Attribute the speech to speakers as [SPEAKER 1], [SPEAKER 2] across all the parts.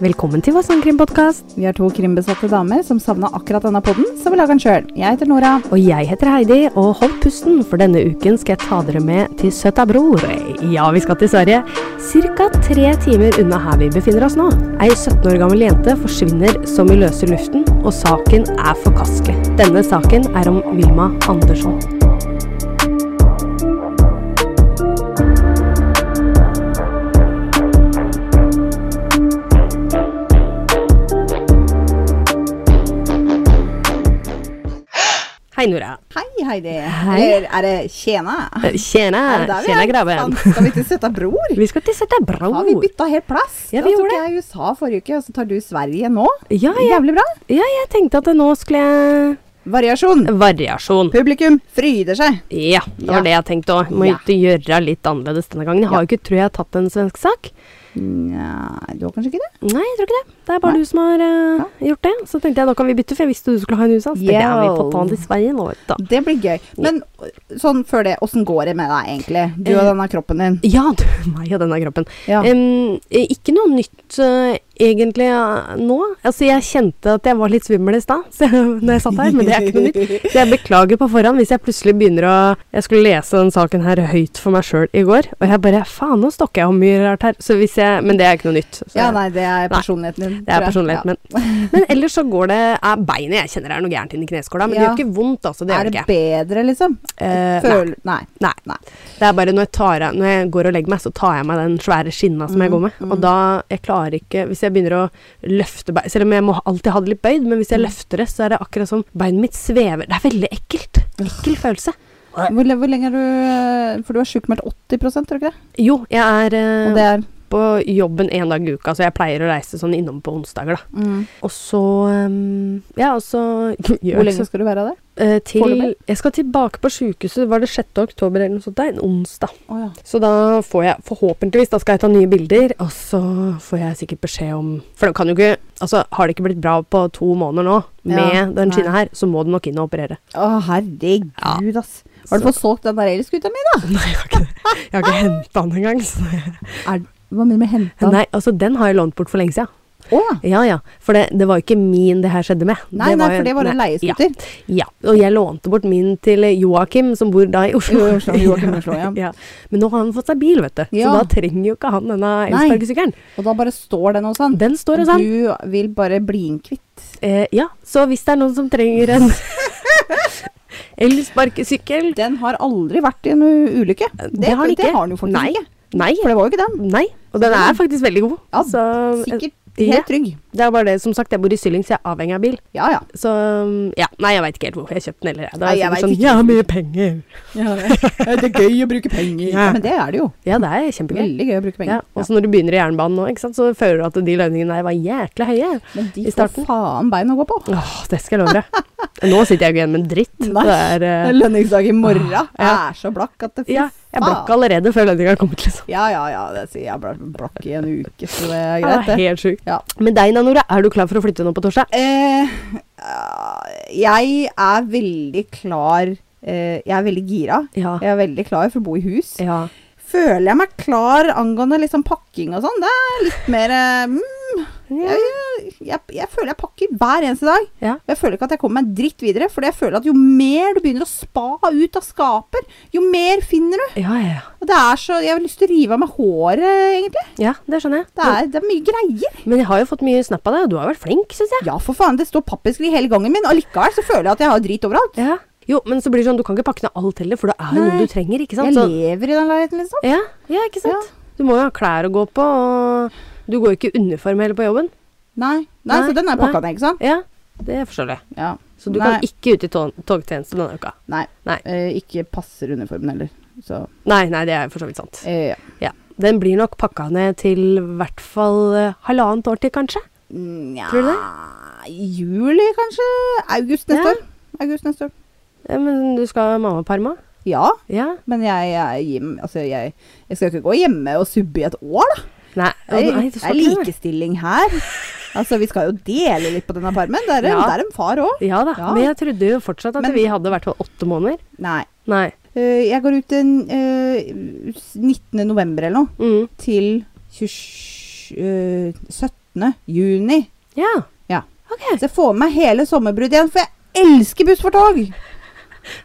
[SPEAKER 1] Velkommen til Hva sangkrimpodkast.
[SPEAKER 2] Vi er to krimbesatte damer som savna akkurat denne podden, så vi lager den sjøl. Jeg heter Nora.
[SPEAKER 1] Og jeg heter Heidi, og hold pusten, for denne uken skal jeg ta dere med til søta bror. Ja, vi skal til Sverige. Cirka tre timer unna her vi befinner oss nå. Ei 17 år gammel jente forsvinner som i løse luften, og saken er forkastelig. Denne saken er om Vilma Andersson. Hei, Nora.
[SPEAKER 2] Hei, Heidi.
[SPEAKER 1] Hei.
[SPEAKER 2] Eller er det tjena? Er det
[SPEAKER 1] Tjena.
[SPEAKER 2] der vi
[SPEAKER 1] Tjena,
[SPEAKER 2] er?
[SPEAKER 1] grabben.
[SPEAKER 2] Faen, Skal vi til søta bror?
[SPEAKER 1] Vi skal til søta
[SPEAKER 2] Har vi
[SPEAKER 1] bror.
[SPEAKER 2] bytta helt plass?
[SPEAKER 1] Ja, vi
[SPEAKER 2] da tok
[SPEAKER 1] gjorde
[SPEAKER 2] jeg USA forrige uke, og så tar du Sverige nå.
[SPEAKER 1] Ja, ja.
[SPEAKER 2] Jævlig bra.
[SPEAKER 1] ja, jeg tenkte at nå skulle jeg
[SPEAKER 2] Variasjon.
[SPEAKER 1] Variasjon.
[SPEAKER 2] Publikum fryder seg.
[SPEAKER 1] Ja, det var
[SPEAKER 2] Ja.
[SPEAKER 1] det jeg tenkte òg. Må
[SPEAKER 2] Ja.
[SPEAKER 1] ikke gjøre litt annerledes denne gangen. Jeg har jo ikke, tror jeg, tatt en svensk sak.
[SPEAKER 2] Nja, du har kanskje ikke det?
[SPEAKER 1] Nei, jeg tror ikke det. Det er bare du som har eh, gjort det. Så tenkte jeg nå kan vi bytte, for jeg visste du skulle ha en USA. Så tenkte jeg, ja, vi får ta den til Sverige nå, vet du.
[SPEAKER 2] Det blir gøy. Men sånn før det, åssen går det med deg egentlig? Du og
[SPEAKER 1] Eh,
[SPEAKER 2] denne kroppen din.
[SPEAKER 1] Ja, du, meg og denne kroppen.
[SPEAKER 2] Ja.
[SPEAKER 1] Em, ikke noe nytt eh, egentlig eh, nå. Altså, jeg kjente at jeg var litt svimmel i stad så- når jeg satt her, men det er ikke noe nytt. Så jeg beklager på forhånd hvis jeg plutselig begynner å Jeg skulle lese den saken her høyt for meg sjøl i går, og jeg bare Faen, nå stokker jeg om mye rart her. Så hvis jeg Men det er ikke noe nytt. Så
[SPEAKER 2] Ja, nei, det er personligheten din.
[SPEAKER 1] Det er
[SPEAKER 2] tror jeg.
[SPEAKER 1] personligheten
[SPEAKER 2] Ja.
[SPEAKER 1] min. Men ellers så går det er Beinet jeg kjenner er noe gærent inni kneskåla, men det
[SPEAKER 2] Ja.
[SPEAKER 1] gjør ikke vondt, altså. Det
[SPEAKER 2] Er
[SPEAKER 1] gjør det
[SPEAKER 2] det
[SPEAKER 1] ikke.
[SPEAKER 2] bedre, liksom?
[SPEAKER 1] Eh,
[SPEAKER 2] Føl... Nei.
[SPEAKER 1] Nei.
[SPEAKER 2] Nei.
[SPEAKER 1] Det er bare når jeg, tar, av- når jeg går og legger meg, så tar jeg meg den svære skinna som jeg går
[SPEAKER 2] Mm,
[SPEAKER 1] med. Og da jeg klarer ikke Hvis jeg begynner å løfte bein Selv om jeg må alltid ha det litt bøyd, men hvis
[SPEAKER 2] Mm.
[SPEAKER 1] jeg løfter det, så er det akkurat som beinet mitt svever. Det er veldig ekkelt. Ekkel følelse.
[SPEAKER 2] Hvor, le- hvor lenge er du eh, For du er sjukmeldt 80 tror du ikke det?
[SPEAKER 1] Jo, jeg er eh,
[SPEAKER 2] Og det er
[SPEAKER 1] på jobben en dag i uka, så jeg pleier å reise sånn innom på onsdager, da.
[SPEAKER 2] Mm.
[SPEAKER 1] Og så eh, Ja, og så gjør
[SPEAKER 2] Hvor
[SPEAKER 1] jeg
[SPEAKER 2] lenge
[SPEAKER 1] så-
[SPEAKER 2] skal du være der?
[SPEAKER 1] eh, til
[SPEAKER 2] Foreløpig?
[SPEAKER 1] Jeg skal tilbake på sjukehuset, var det 6. oktober eller noe sånt? Det er en onsdag.
[SPEAKER 2] Å ja.
[SPEAKER 1] Så da får jeg forhåpentligvis da skal jeg ta nye bilder, og så får jeg sikkert beskjed om For det kan jo ikke Altså, har det ikke blitt bra på to måneder nå med
[SPEAKER 2] Ja,
[SPEAKER 1] den
[SPEAKER 2] nei.
[SPEAKER 1] skinna her, så må du nok inn og operere.
[SPEAKER 2] Å, herregud, ass. Har du
[SPEAKER 1] Så-
[SPEAKER 2] fått solgt den der elskuta mi, da?
[SPEAKER 1] Nei, jeg har ikke det. Jeg har ikke henta den engang. Så.
[SPEAKER 2] Er, hva mener du med henta?
[SPEAKER 1] Nei, altså, den har jeg lånt bort for lenge siden.
[SPEAKER 2] Å ja.
[SPEAKER 1] Ja ja. For det, det var jo ikke min det her skjedde med.
[SPEAKER 2] Nei, nei, for det var en
[SPEAKER 1] nei,
[SPEAKER 2] leieskuter.
[SPEAKER 1] Ja, ja. Og jeg lånte bort min til Joakim, som bor da i Oslo.
[SPEAKER 2] I Oslo, Joakim i Oslo, ja.
[SPEAKER 1] Men nå har han fått seg bil, vet du. Så
[SPEAKER 2] Ja.
[SPEAKER 1] da trenger jo ikke han denne
[SPEAKER 2] Nei.
[SPEAKER 1] elsparkesykkelen.
[SPEAKER 2] Og da bare står den hos han.
[SPEAKER 1] Den står hos han.
[SPEAKER 2] Du vil bare bli den kvitt.
[SPEAKER 1] Eh, ja, så hvis det er noen som trenger en elsparkesykkel
[SPEAKER 2] Den har aldri vært i en u- ulykke.
[SPEAKER 1] det har den ikke.
[SPEAKER 2] Det har den jo faktisk
[SPEAKER 1] Nei.
[SPEAKER 2] ikke.
[SPEAKER 1] Nei.
[SPEAKER 2] For det var jo ikke den.
[SPEAKER 1] Nei. Og den er faktisk veldig god.
[SPEAKER 2] Ja,
[SPEAKER 1] Så, eh,
[SPEAKER 2] Sikkert
[SPEAKER 1] ja.
[SPEAKER 2] helt trygg.
[SPEAKER 1] Det er bare det, som sagt, jeg bor i Sylling, så jeg er avhengig av bil.
[SPEAKER 2] Ja ja.
[SPEAKER 1] Så mm, ja, nei, jeg veit ikke helt hvor jeg kjøpte den heller. jeg. Det
[SPEAKER 2] Nei, jeg
[SPEAKER 1] er sikkert
[SPEAKER 2] vet
[SPEAKER 1] sånn
[SPEAKER 2] ikke.
[SPEAKER 1] Jeg har mye penger.
[SPEAKER 2] det er gøy å bruke penger. Ja. Men det er det jo.
[SPEAKER 1] Ja, det er kjempegøy.
[SPEAKER 2] Veldig gøy å bruke
[SPEAKER 1] Ja,
[SPEAKER 2] penger.
[SPEAKER 1] og så når du begynner i jernbanen nå, ikke sant, så føler du at de lønningene der var jækla høye.
[SPEAKER 2] Men de
[SPEAKER 1] I
[SPEAKER 2] får
[SPEAKER 1] starten.
[SPEAKER 2] faen bein å gå på.
[SPEAKER 1] Åh, det skal jeg love deg. Nå sitter jeg jo igjen med en dritt.
[SPEAKER 2] Nei,
[SPEAKER 1] Det er, eh,
[SPEAKER 2] lønningsdag i morgen. Jeg
[SPEAKER 1] ja.
[SPEAKER 2] er så blakk at det fy
[SPEAKER 1] ja, jeg er blakk
[SPEAKER 2] faen.
[SPEAKER 1] allerede før lønninga har kommet, liksom.
[SPEAKER 2] Ja, ja, ja. Det sier jeg ble blakk i en uke, så det er
[SPEAKER 1] Ja,
[SPEAKER 2] greit,
[SPEAKER 1] Det er
[SPEAKER 2] det.
[SPEAKER 1] helt sjukt.
[SPEAKER 2] Ja.
[SPEAKER 1] Men deg, Nanora, er du klar for å flytte nå på torsdag?
[SPEAKER 2] Eh, eh, jeg er veldig klar eh, Jeg er veldig gira.
[SPEAKER 1] Ja.
[SPEAKER 2] Jeg er veldig klar for å bo i hus.
[SPEAKER 1] Ja.
[SPEAKER 2] Føler jeg meg klar angående liksom pakking og sånn? Det er litt mer eh, mm,
[SPEAKER 1] Ja.
[SPEAKER 2] jeg, jeg, jeg føler jeg pakker hver eneste dag.
[SPEAKER 1] Ja.
[SPEAKER 2] Og Jeg føler ikke at jeg kommer meg en dritt videre, for jeg føler at jo mer du begynner å spa ut av skaper, jo mer finner du.
[SPEAKER 1] Ja, ja,
[SPEAKER 2] Og det er så, Jeg har lyst til å rive av meg håret, egentlig.
[SPEAKER 1] ja, det skjønner jeg.
[SPEAKER 2] Det er, det er mye greier.
[SPEAKER 1] Men jeg har jo fått mye snap av deg, og du har vært flink, syns jeg.
[SPEAKER 2] Ja, for faen, det står pappesker i hele gangen min, og likevel så føler jeg at jeg har drit overalt.
[SPEAKER 1] Ja. Jo, men så blir det sånn, du kan ikke pakke ned alt heller, for det er jo
[SPEAKER 2] Nei.
[SPEAKER 1] noe du trenger, ikke sant?
[SPEAKER 2] Jeg
[SPEAKER 1] Så,
[SPEAKER 2] lever i den leiligheten, liksom.
[SPEAKER 1] ja, ja, ikke sant? Du må jo ha klær å gå på, og du går jo ikke i uniform heller på jobben.
[SPEAKER 2] Nei, nei,
[SPEAKER 1] Nei,
[SPEAKER 2] så den er
[SPEAKER 1] nei.
[SPEAKER 2] pakka ned, ikke sant?
[SPEAKER 1] Ja, det forstår jeg.
[SPEAKER 2] Ja.
[SPEAKER 1] Så du
[SPEAKER 2] nei,
[SPEAKER 1] kan ikke ut i tog togtjeneste denne uka.
[SPEAKER 2] Nei.
[SPEAKER 1] Nei.
[SPEAKER 2] eh, ikke passer uniformen heller. Så
[SPEAKER 1] Nei, nei, det er for så vidt sant.
[SPEAKER 2] eh, ja.
[SPEAKER 1] Ja. Den blir nok pakka ned til i hvert fall eh, halvannet år til, kanskje.
[SPEAKER 2] Nja
[SPEAKER 1] Tror du
[SPEAKER 2] Juli, kanskje? August neste
[SPEAKER 1] Ja.
[SPEAKER 2] år. August neste år.
[SPEAKER 1] Ja, men du skal ha mammaperma?
[SPEAKER 2] Ja.
[SPEAKER 1] Ja.
[SPEAKER 2] Men jeg, jeg, gir- altså jeg, jeg skal ikke gå hjemme og subbe i et år, da.
[SPEAKER 1] Nei,
[SPEAKER 2] Det er,
[SPEAKER 1] nei, du
[SPEAKER 2] det
[SPEAKER 1] skal
[SPEAKER 2] er
[SPEAKER 1] ikke det.
[SPEAKER 2] likestilling her. Altså, vi skal jo dele litt på denne parmen. Det er, en-
[SPEAKER 1] Ja.
[SPEAKER 2] det er en far òg.
[SPEAKER 1] Ja da,
[SPEAKER 2] Ja.
[SPEAKER 1] men jeg trodde jo fortsatt at
[SPEAKER 2] Men-
[SPEAKER 1] vi hadde vært på åtte måneder.
[SPEAKER 2] Nei.
[SPEAKER 1] Nei.
[SPEAKER 2] Eh, jeg går ut den eh, 19. november eller noe,
[SPEAKER 1] Mm.
[SPEAKER 2] til 27, eh, 17. 17. juni.
[SPEAKER 1] Ja.
[SPEAKER 2] Ja.
[SPEAKER 1] Ok.
[SPEAKER 2] Så jeg får med meg hele sommerbruddet igjen, for jeg elsker buss for tog!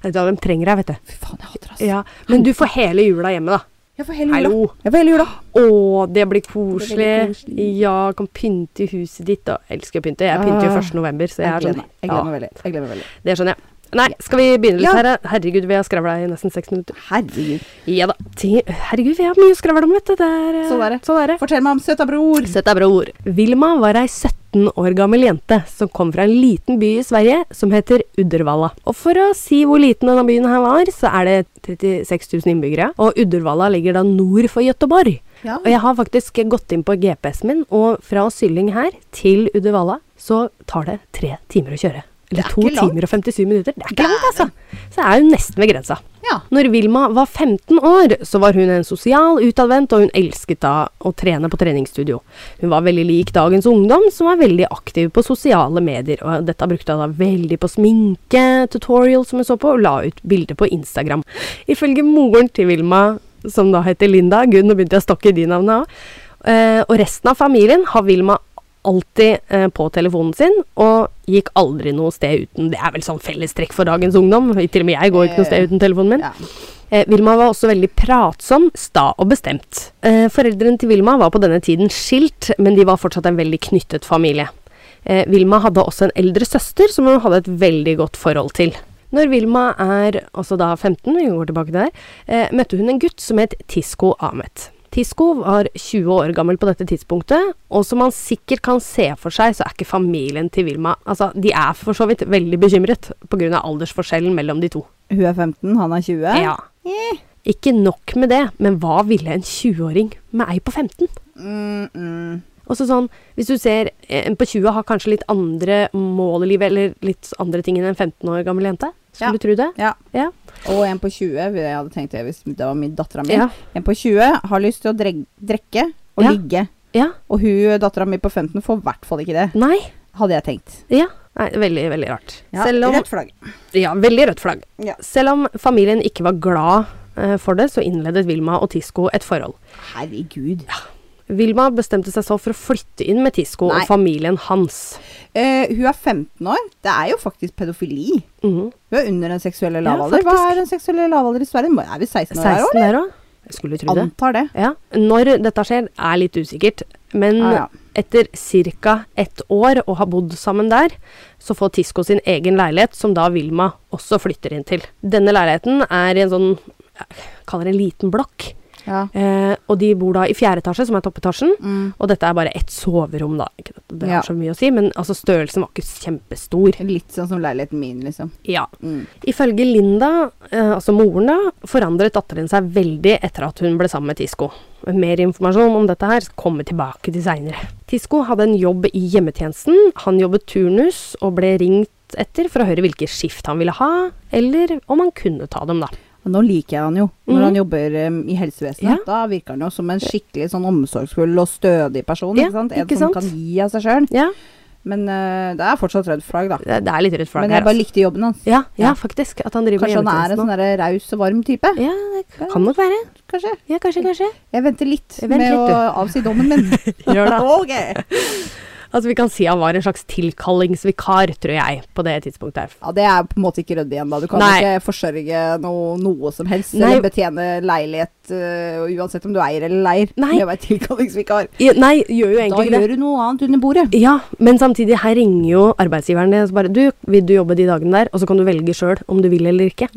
[SPEAKER 1] Vet du hva, de trenger deg, vet du.
[SPEAKER 2] Fy faen, jeg hater det, altså.
[SPEAKER 1] Ja. Men du får hele jula hjemme, da.
[SPEAKER 2] Jeg får hele jula.
[SPEAKER 1] Hallo.
[SPEAKER 2] Jeg får hele jula.
[SPEAKER 1] Å, det blir
[SPEAKER 2] Det blir
[SPEAKER 1] koselig.
[SPEAKER 2] koselig.
[SPEAKER 1] Ja, kan pynte i huset ditt. Og jeg elsker å pynte. Jeg pynter jo
[SPEAKER 2] Ah.
[SPEAKER 1] 1. november, så jeg er
[SPEAKER 2] gleder
[SPEAKER 1] sånn
[SPEAKER 2] meg. Jeg
[SPEAKER 1] ja,
[SPEAKER 2] gleder meg veldig. Jeg gleder meg veldig.
[SPEAKER 1] Det skjønner jeg. Nei, skal vi begynne litt
[SPEAKER 2] Ja.
[SPEAKER 1] her? da? Herregud, vi har skravla i nesten seks minutter.
[SPEAKER 2] Herregud.
[SPEAKER 1] Ja da. Ting- Herregud, vi har mye å skravle om, vet du. Det er, eh,
[SPEAKER 2] Sånn er det.
[SPEAKER 1] Sånn er det.
[SPEAKER 2] Fortell meg om søta bror.
[SPEAKER 1] Sett deg bra ord. Vilma var ei 17 år gammel jente som kom fra en liten by i Sverige som heter Uddervalla. Og for å si hvor liten denne byen her var, så er det 36 000 innbyggere. Og Uddervalla ligger da nord for Gøteborg.
[SPEAKER 2] Ja.
[SPEAKER 1] Og jeg har faktisk gått inn på GPS-en min, og fra Sylling her til Uddervalla så tar det tre timer å kjøre.
[SPEAKER 2] Det
[SPEAKER 1] Eller
[SPEAKER 2] er
[SPEAKER 1] to
[SPEAKER 2] ikke langt.
[SPEAKER 1] timer og 57 minutter. Det er ikke langt, altså. Så det er jo nesten ved grensa.
[SPEAKER 2] Ja.
[SPEAKER 1] Når Vilma var 15 år, så var hun en sosial, utadvendt, og hun elsket da å trene på treningsstudio. Hun var veldig lik dagens ungdom, som var veldig aktiv på sosiale medier. Og dette brukte hun da veldig på sminke, tutorial som hun så på, og la ut bilder på Instagram. Ifølge moren til Vilma, som da heter Linda Gunn, nå begynte jeg å stokke i de navnene òg, og resten av familien har Vilma alltid eh, på telefonen sin, og gikk aldri noe sted uten. Det er vel sånn fellestrekk for dagens ungdom. Til og med jeg går ikke noe sted uten telefonen min.
[SPEAKER 2] Ja.
[SPEAKER 1] Eh, Vilma var også veldig pratsom, sta og bestemt. Eh, foreldrene til Vilma var på denne tiden skilt, men de var fortsatt en veldig knyttet familie. Eh, Vilma hadde også en eldre søster som hun hadde et veldig godt forhold til. Når Vilma er altså da 15, vi går tilbake der, eh, møtte hun en gutt som het Tisko Ahmet. Tisko var 20 år gammel på dette tidspunktet, og som man sikkert kan se for seg, så er ikke familien til Vilma Altså, de er for så vidt veldig bekymret pga. aldersforskjellen mellom de to.
[SPEAKER 2] Hun er 15, han er 20.
[SPEAKER 1] Ja.
[SPEAKER 2] Eh.
[SPEAKER 1] Ikke nok med det, men hva ville en 20-åring med ei på 15?
[SPEAKER 2] Mm, mm.
[SPEAKER 1] Og så sånn, Hvis du ser eh, en på 20 har kanskje litt andre mål i livet, eller litt andre ting enn en 15 år gammel jente. Skulle
[SPEAKER 2] Ja.
[SPEAKER 1] du tro det?
[SPEAKER 2] Ja.
[SPEAKER 1] Ja.
[SPEAKER 2] Og en på 20, jeg hadde tenkt det hvis det var min dattera mi.
[SPEAKER 1] Ja.
[SPEAKER 2] En på 20 har lyst til å dreg- drikke og
[SPEAKER 1] Ja.
[SPEAKER 2] ligge.
[SPEAKER 1] ja.
[SPEAKER 2] Og hun dattera mi på 15 får i hvert fall ikke det,
[SPEAKER 1] Nei.
[SPEAKER 2] hadde jeg tenkt.
[SPEAKER 1] Ja. Nei, veldig, veldig rart.
[SPEAKER 2] Ja,
[SPEAKER 1] Selv om,
[SPEAKER 2] Rødt flagg.
[SPEAKER 1] ja, veldig rødt flagg.
[SPEAKER 2] Ja.
[SPEAKER 1] Selv om familien ikke var glad eh, for det, så innledet Vilma og Tisko et forhold.
[SPEAKER 2] Herregud.
[SPEAKER 1] Vilma bestemte seg så for å flytte inn med Tisko
[SPEAKER 2] Nei.
[SPEAKER 1] og familien hans.
[SPEAKER 2] Eh, hun er 15 år. Det er jo faktisk pedofili.
[SPEAKER 1] Mhm.
[SPEAKER 2] Hun er under den seksuelle
[SPEAKER 1] Ja,
[SPEAKER 2] lavalder. Hva
[SPEAKER 1] faktisk.
[SPEAKER 2] er den seksuelle lavalder i Sverige? Må- Er vi 16 år her
[SPEAKER 1] 16
[SPEAKER 2] òg?
[SPEAKER 1] der òg? Skulle du tro det.
[SPEAKER 2] Antar det.
[SPEAKER 1] Ja. Når dette skjer, er litt usikkert. Men
[SPEAKER 2] Ja, ja.
[SPEAKER 1] etter ca. ett år å ha bodd sammen der, så får Tisko sin egen leilighet, som da Vilma også flytter inn til. Denne leiligheten er i en sånn jeg kaller det en liten blokk.
[SPEAKER 2] Ja.
[SPEAKER 1] Eh, og de bor da i fjerde etasje, som er toppetasjen.
[SPEAKER 2] Mm.
[SPEAKER 1] Og dette er bare ett soverom, da. Ikke at det
[SPEAKER 2] Ja.
[SPEAKER 1] har så mye å si, men altså, størrelsen var ikke kjempestor.
[SPEAKER 2] Litt sånn som leiligheten min, liksom.
[SPEAKER 1] Ja.
[SPEAKER 2] Mm.
[SPEAKER 1] Ifølge Linda, eh, altså moren da, forandret datteren seg veldig etter at hun ble sammen med Tisko. Mer informasjon om dette her kommer tilbake til seinere. Tisko hadde en jobb i hjemmetjenesten. Han jobbet turnus og ble ringt etter for å høre hvilke skift han ville ha, eller om han kunne ta dem, da.
[SPEAKER 2] Og nå liker jeg han jo, når
[SPEAKER 1] Mhm.
[SPEAKER 2] han jobber em, i helsevesenet.
[SPEAKER 1] Ja.
[SPEAKER 2] Da virker han jo som en skikkelig sånn omsorgsfull og stødig person.
[SPEAKER 1] Ja,
[SPEAKER 2] ikke sant? En
[SPEAKER 1] ikke
[SPEAKER 2] som
[SPEAKER 1] sant?
[SPEAKER 2] kan gi av seg sjøl.
[SPEAKER 1] Ja,
[SPEAKER 2] Men eh, det er fortsatt rød flagg, da.
[SPEAKER 1] det det er litt rødt flagg
[SPEAKER 2] Men jeg
[SPEAKER 1] her,
[SPEAKER 2] bare
[SPEAKER 1] altså.
[SPEAKER 2] likte jobben hans.
[SPEAKER 1] Ja, ja,
[SPEAKER 2] Ja.
[SPEAKER 1] faktisk. At han driver
[SPEAKER 2] Kanskje
[SPEAKER 1] med
[SPEAKER 2] han er en
[SPEAKER 1] hjemmetjenesten.
[SPEAKER 2] sånn der raus og varm type.
[SPEAKER 1] nå. Ja, det kan nok være.
[SPEAKER 2] Kanskje.
[SPEAKER 1] Ja, kanskje, kanskje.
[SPEAKER 2] Jeg venter litt
[SPEAKER 1] Vent
[SPEAKER 2] med
[SPEAKER 1] litt,
[SPEAKER 2] å
[SPEAKER 1] du.
[SPEAKER 2] avsi dommen min.
[SPEAKER 1] Gjør det.
[SPEAKER 2] Ok.
[SPEAKER 1] Altså, vi kan si han var en slags tilkallingsvikar, tror jeg, på det tidspunktet her.
[SPEAKER 2] Ja, det er på en måte ikke ryddig igjen, da. Du kan
[SPEAKER 1] Nei.
[SPEAKER 2] ikke forsørge noe, noe som helst.
[SPEAKER 1] Nei.
[SPEAKER 2] Eller betjene leilighet, øh, uansett om du eier eller leier.
[SPEAKER 1] Nei.
[SPEAKER 2] Med å være tilkallingsvikar.
[SPEAKER 1] Ja, Nei, gjør jo
[SPEAKER 2] Da
[SPEAKER 1] egentlig ikke det.
[SPEAKER 2] gjør du noe annet under bordet.
[SPEAKER 1] Ja, men samtidig, her ringer jo arbeidsgiveren din og så bare Du, vil du jobbe de dagene der? Og så kan du velge sjøl om du vil eller ikke.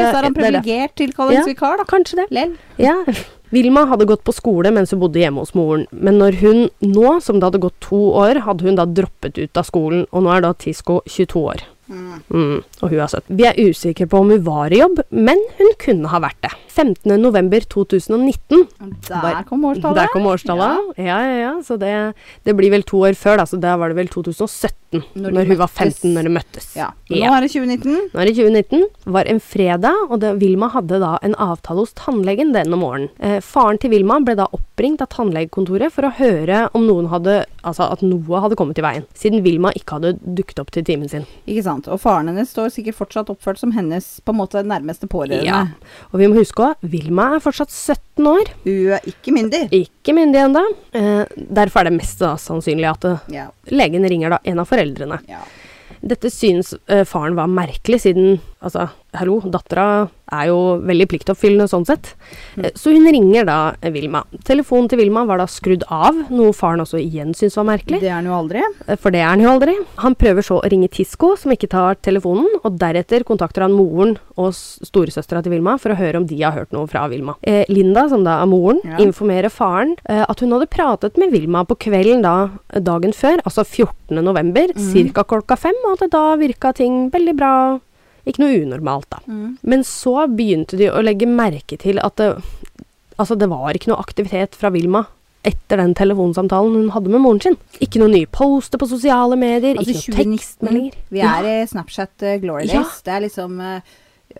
[SPEAKER 1] Så
[SPEAKER 2] så er han
[SPEAKER 1] det er det.
[SPEAKER 2] privilegert tilkallingsvikar, da.
[SPEAKER 1] Kanskje det.
[SPEAKER 2] Lell.
[SPEAKER 1] Ja. Vilma hadde gått på skole mens hun bodde hjemme hos moren, men når hun nå, som det hadde gått to år, hadde hun da droppet ut av skolen, og nå er da Tisco 22 år. Mm, og hun er søt. Vi er usikre på om hun var i jobb, men hun kunne ha vært det. 15.11.2019
[SPEAKER 2] Der kom
[SPEAKER 1] Der
[SPEAKER 2] årstallet.
[SPEAKER 1] kom årstallet. Ja, ja, ja. Så det, det blir vel to år før, da. Så da var det vel 2017.
[SPEAKER 2] Når de
[SPEAKER 1] Når, hun var
[SPEAKER 2] møttes.
[SPEAKER 1] 15, når de møttes.
[SPEAKER 2] Ja. Nå
[SPEAKER 1] Ja.
[SPEAKER 2] er det 2019.
[SPEAKER 1] Nå er det 2019. Var en fredag, og det, Vilma hadde da en avtale hos tannlegen denne morgenen. Eh, faren til Vilma ble da oppringt av tannlegekontoret for å høre om noen hadde Altså at noe hadde kommet i veien. Siden Vilma ikke hadde dukket opp til timen sin.
[SPEAKER 2] Ikke sant. Og faren hennes står sikkert fortsatt oppført som hennes på en måte nærmeste pårørende.
[SPEAKER 1] Ja. Og vi må huske òg, Vilma er fortsatt 17 17 år.
[SPEAKER 2] Hun er ikke myndig.
[SPEAKER 1] Ikke myndig ennå. Eh, derfor er det mest da, sannsynlig at eh,
[SPEAKER 2] Ja.
[SPEAKER 1] legen ringer da en av foreldrene.
[SPEAKER 2] ja.
[SPEAKER 1] Dette syns eh, faren var merkelig, siden altså, hallo, dattera er jo veldig pliktoppfyllende sånn sett. Eh, Så hun ringer da eh, Vilma. Telefonen til Vilma var da skrudd av, noe faren også igjen syns var merkelig.
[SPEAKER 2] Det er han jo aldri.
[SPEAKER 1] Eh, For det er han jo aldri. Han prøver så å ringe Tisco, som ikke tar telefonen, og deretter kontakter han moren og s- storesøstera til Vilma for å høre om de har hørt noe fra Vilma. Eh, Linda, som da er moren,
[SPEAKER 2] Ja.
[SPEAKER 1] informerer faren eh, at hun hadde pratet med Vilma på kvelden da, dagen før, altså 14. november, ca. klokka fem, og at det da virka ting veldig bra. Ikke noe unormalt, da. Men så begynte de å legge merke til at det, altså det var ikke noe aktivitet fra Vilma etter den telefonsamtalen hun hadde med moren sin. Ikke noen nye poster på sosiale medier,
[SPEAKER 2] Altså
[SPEAKER 1] ikke noen
[SPEAKER 2] 2019.
[SPEAKER 1] tekstmeldinger.
[SPEAKER 2] Vi er i Snapchat eh, glory
[SPEAKER 1] Ja.
[SPEAKER 2] days. Det er liksom eh,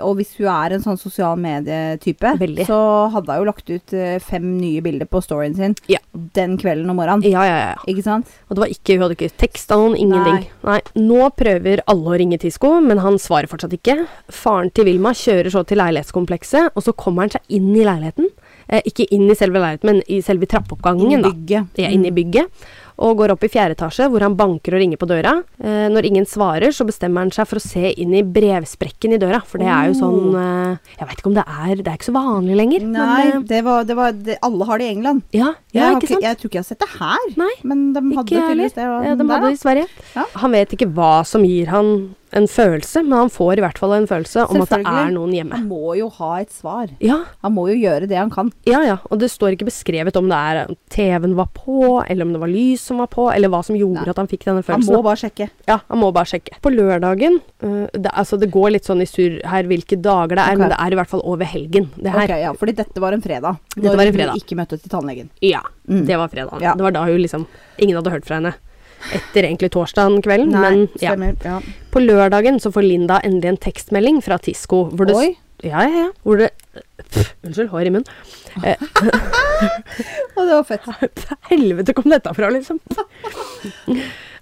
[SPEAKER 2] Og hvis hun er en sånn sosial medietype,
[SPEAKER 1] Veldig.
[SPEAKER 2] så hadde hun jo lagt ut eh, fem nye bilder på storyen sin
[SPEAKER 1] Ja.
[SPEAKER 2] den kvelden om morgenen.
[SPEAKER 1] Ja, ja, ja. ja.
[SPEAKER 2] Ikke sant?
[SPEAKER 1] Og det var ikke, hun hadde ikke teksta noen, ingenting. Nei. Nå prøver alle å ringe Tisco, men han svarer fortsatt ikke. Faren til Vilma kjører så til leilighetskomplekset, og så kommer han seg inn i leiligheten. Eh, ikke inn i selve leiligheten, men i selve trappeoppgangen, da.
[SPEAKER 2] Bygget.
[SPEAKER 1] Ja, inn i
[SPEAKER 2] Mm.
[SPEAKER 1] bygget. Og går opp i fjerde etasje, hvor han banker og ringer på døra. Eh, når ingen svarer, så bestemmer han seg for å se inn i brevsprekken i døra. For det er jo sånn eh, Jeg veit ikke om det er Det er ikke så vanlig lenger.
[SPEAKER 2] Nei,
[SPEAKER 1] Men,
[SPEAKER 2] det var, det var det, Alle har det i England.
[SPEAKER 1] eh, ja, ja,
[SPEAKER 2] jeg, har
[SPEAKER 1] ikke sant?
[SPEAKER 2] jeg tror ikke jeg har sett det her,
[SPEAKER 1] Nei,
[SPEAKER 2] men de hadde
[SPEAKER 1] Ikke jeg heller.
[SPEAKER 2] tydeligvis det. og-
[SPEAKER 1] Ja, de
[SPEAKER 2] der,
[SPEAKER 1] hadde
[SPEAKER 2] da.
[SPEAKER 1] det i Sverige.
[SPEAKER 2] Ja.
[SPEAKER 1] Han vet ikke hva som gir han en følelse, men han får i hvert fall en følelse om at det
[SPEAKER 2] Selvfølgelig.
[SPEAKER 1] er noen hjemme.
[SPEAKER 2] Han må jo ha et svar.
[SPEAKER 1] Ja,
[SPEAKER 2] Han må jo gjøre det han kan.
[SPEAKER 1] ja, ja. Og det står ikke beskrevet om det er om TV-en var på, eller om det var lys som var på, eller hva som gjorde
[SPEAKER 2] Nei.
[SPEAKER 1] at han fikk denne
[SPEAKER 2] Han
[SPEAKER 1] følelsen.
[SPEAKER 2] må bare sjekke.
[SPEAKER 1] Ja, han må bare sjekke. På lørdagen øh, det, altså det går litt sånn i surr her hvilke dager det er,
[SPEAKER 2] Ok.
[SPEAKER 1] men det er i hvert fall over helgen. Det her.
[SPEAKER 2] Ok, ja, fordi dette var en fredag.
[SPEAKER 1] Dette
[SPEAKER 2] når
[SPEAKER 1] var en
[SPEAKER 2] hun
[SPEAKER 1] fredag.
[SPEAKER 2] ikke møtte til tannlegen.
[SPEAKER 1] Ja,
[SPEAKER 2] Mm.
[SPEAKER 1] det var fredagen.
[SPEAKER 2] Ja.
[SPEAKER 1] Det var da hun liksom Ingen hadde hørt fra henne etter egentlig torsdagen kvelden, Mm, men ja.
[SPEAKER 2] stemmer. Ja.
[SPEAKER 1] På lørdagen så får Linda endelig en tekstmelding fra Tisco hvor det s-
[SPEAKER 2] Oi.
[SPEAKER 1] Ja, ja, ja. Hvor det Pff, Unnskyld, hår i munnen.
[SPEAKER 2] Og det var fett.
[SPEAKER 1] Helvete kom dette fra, liksom.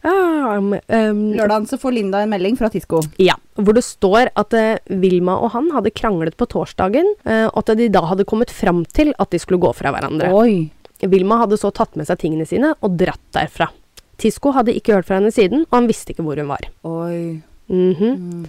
[SPEAKER 1] Ja, um, um,
[SPEAKER 2] Lørdagen så får Linda en melding fra Tisco.
[SPEAKER 1] Ja, hvor det står at eh, Vilma og han hadde kranglet på torsdagen, eh, og at de da hadde kommet fram til at de skulle gå fra hverandre.
[SPEAKER 2] Oi.
[SPEAKER 1] Vilma hadde så tatt med seg tingene sine og dratt derfra. Tisco hadde ikke hørt fra henne siden, og han visste ikke hvor hun var.
[SPEAKER 2] Oi.
[SPEAKER 1] Mhm.